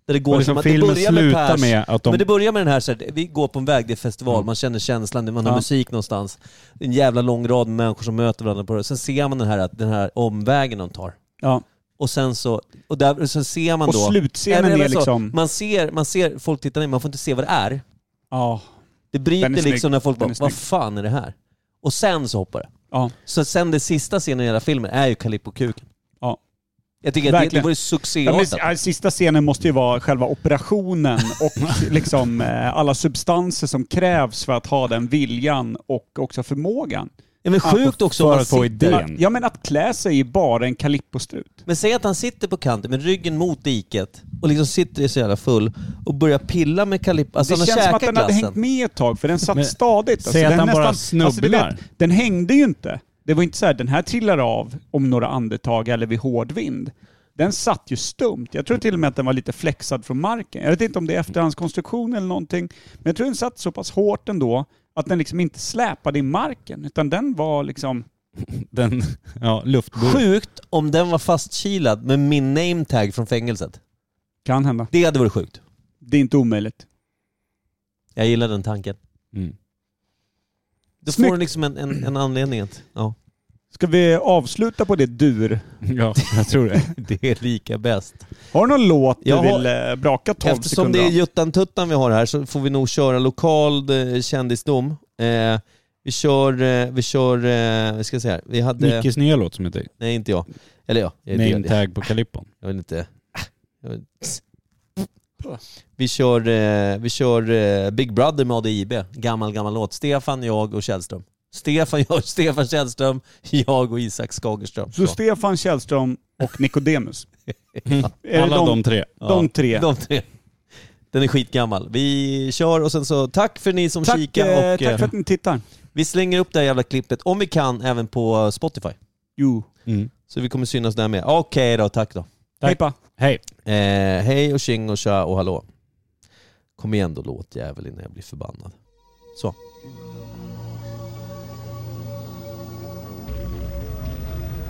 [SPEAKER 1] Där det går
[SPEAKER 2] Och liksom
[SPEAKER 1] som att det
[SPEAKER 2] filmen
[SPEAKER 1] börjar med
[SPEAKER 2] slutar
[SPEAKER 1] Pers,
[SPEAKER 2] med att de-
[SPEAKER 1] Men det börjar med den här, så här vi går på en väg, det är festival, man känner känslan, man har
[SPEAKER 3] Mm. Ja.
[SPEAKER 1] musik någonstans. En jävla lång rad med människor som möter varandra på det. Sen ser man den här, den här omvägen de tar.
[SPEAKER 3] Ja.
[SPEAKER 1] Och sen så, och där, så ser man
[SPEAKER 3] Och
[SPEAKER 1] då...
[SPEAKER 3] slutscenen
[SPEAKER 1] Nej, men
[SPEAKER 3] är
[SPEAKER 1] alltså,
[SPEAKER 3] liksom...
[SPEAKER 1] man, ser, man ser folk titta ner, man får inte se vad det är.
[SPEAKER 3] Ja,
[SPEAKER 1] Det bryter
[SPEAKER 3] Den är snygg.
[SPEAKER 1] liksom när folk
[SPEAKER 3] Den
[SPEAKER 1] bara,
[SPEAKER 3] är snygg.
[SPEAKER 1] vad fan är det här? Och sen så hoppar det.
[SPEAKER 3] ja.
[SPEAKER 1] Så sen det sista scenen i hela filmen är ju Kalippo-kuken.
[SPEAKER 3] Ja.
[SPEAKER 1] Jag tycker att det, det
[SPEAKER 3] Verkligen.
[SPEAKER 1] vore
[SPEAKER 3] Ja, men, s-
[SPEAKER 1] succéartat.
[SPEAKER 3] ja, sista scenen måste ju vara själva
[SPEAKER 1] [laughs]
[SPEAKER 3] operationen och liksom eh, alla substanser som krävs för att ha den viljan och också förmågan.
[SPEAKER 1] Ja, men sjukt också om
[SPEAKER 2] för
[SPEAKER 1] man
[SPEAKER 2] att få
[SPEAKER 1] sitter...
[SPEAKER 2] idé.
[SPEAKER 3] Att, ja men att klä sig i bara en kalippostrut.
[SPEAKER 1] Men säg att han sitter på kanten med ryggen mot diket och liksom sitter så jävla full och börjar pilla med Kalippo. Alltså
[SPEAKER 3] det
[SPEAKER 1] han
[SPEAKER 3] känns som
[SPEAKER 1] har
[SPEAKER 3] att den
[SPEAKER 1] käkat
[SPEAKER 3] hade hängt
[SPEAKER 1] glassen.
[SPEAKER 3] med ett tag för den satt
[SPEAKER 2] Men
[SPEAKER 3] stadigt. Alltså,
[SPEAKER 2] säg att
[SPEAKER 3] den alltså,
[SPEAKER 2] han bara
[SPEAKER 3] du vet,
[SPEAKER 2] snubblar.
[SPEAKER 3] den hängde ju inte. Det var inte så här, den här trillar av om några andetag eller vid hård vind. Den satt ju stumt. Jag tror till och med att den var lite flexad från marken. Jag vet inte om det är efterhandskonstruktion eller någonting. Men jag tror den satt så pass hårt ändå att den liksom inte släpade i marken. Utan den var liksom...
[SPEAKER 2] Den, ja, luftburk.
[SPEAKER 1] Sjukt om den var fastkilad med min name tag från fängelset.
[SPEAKER 3] Kan hända.
[SPEAKER 1] Det hade varit sjukt.
[SPEAKER 3] Det är inte omöjligt.
[SPEAKER 1] Jag gillar den tanken.
[SPEAKER 2] Mm.
[SPEAKER 1] Då
[SPEAKER 3] Snyggt.
[SPEAKER 1] får du liksom en, en, en anledning att... Ja.
[SPEAKER 3] Ska vi avsluta på det dur?
[SPEAKER 2] Ja, jag tror det.
[SPEAKER 1] Det är lika bäst.
[SPEAKER 3] Har du någon låt du
[SPEAKER 1] Jag har-
[SPEAKER 3] vill eh, braka 12
[SPEAKER 1] Eftersom
[SPEAKER 3] sekunder
[SPEAKER 1] det är
[SPEAKER 3] av?
[SPEAKER 1] Juttan Tuttan vi har här så får vi nog köra lokal eh, kändisdom. Eh, vi kör, eh, vi kör, eh, vad ska jag säga här? Vi hade...
[SPEAKER 2] Nickes nya låt som heter
[SPEAKER 1] Nej, inte jag. Eller ja, jag,
[SPEAKER 2] Name
[SPEAKER 1] jag,
[SPEAKER 2] Tag på Kalippon.
[SPEAKER 1] jag vill inte... Ah, Jag vill, vi kör, eh, vi kör eh, Big Brother med ADIB. Gammal, gammal låt. Stefan, jag och Källström. Stefan, jag, Stefan Källström, jag och Isak Skagerström.
[SPEAKER 3] Så Stefan Källström och Nicodemus. Är det
[SPEAKER 2] Alla de, tre.
[SPEAKER 3] de tre.
[SPEAKER 1] De tre. Den är skitgammal. Vi kör och sen så tack för ni som
[SPEAKER 3] Tack,
[SPEAKER 1] kikar
[SPEAKER 3] eh,
[SPEAKER 1] och
[SPEAKER 3] tack
[SPEAKER 1] eh,
[SPEAKER 3] för att ni tittar.
[SPEAKER 1] vi slänger upp det här jävla klippet om vi kan även på Spotify.
[SPEAKER 3] Jo.
[SPEAKER 2] Mm.
[SPEAKER 1] Så vi kommer synas där med. Okej då, tack då.
[SPEAKER 2] Tack.
[SPEAKER 3] Hejpa.
[SPEAKER 2] Hej.
[SPEAKER 1] Eh, hej och tjing och tja och hallå. Kom igen då låtjävel innan jag blir förbannad. Så.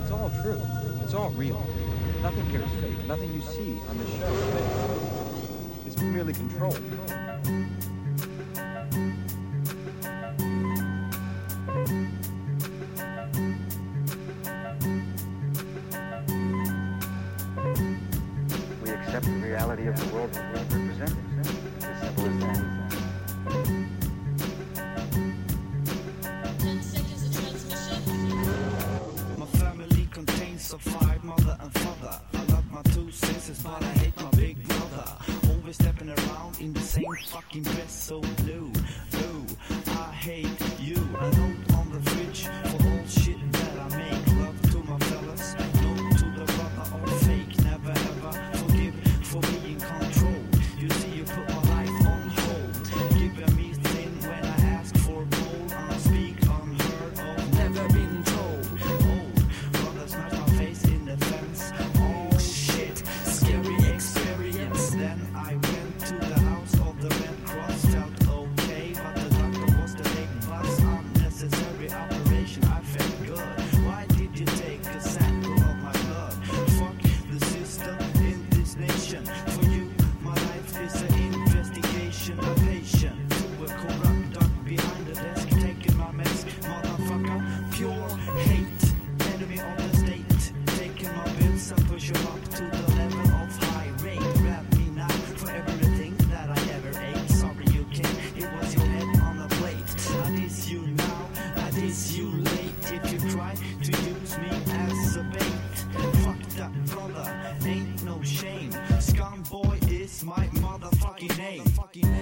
[SPEAKER 11] It's all true. It's all real. Nothing here is fake. Nothing you see on this show is fake. It's merely controlled. We accept the reality of the world that we represent. It's as simple as that.
[SPEAKER 12] been stepping around in the same fucking dress, so blue, blue. I hate you. A note on the fridge for all shit that I make. Love to my fellas, no to the brother or fake. Never ever forgive for being controlled. You see, you put my life on hold, giving me thin when I ask for gold. I speak unheard of, never been told. Old brother smashed my face in the fence. Oh shit, scary experience. Then I went to the house of the Red Cross. Felt okay, but the doctor was the late bus. Unnecessary operation, I felt good. Why did you take a sample of my blood? Fuck the system in this nation. For you, my life is an investigation. A patient to a corrupt duck behind the desk, taking my mess. Motherfucker, pure hate. Enemy of the state, taking my bills and push 'em up to the level of high rate. Grab me now for everything that I ever ate. Sorry, you can't. It was your head on a plate. I diss you now, I diss you late. If you try to use me as a bait, fuck that brother. Ain't no shame. Scum boy is my motherfucking name.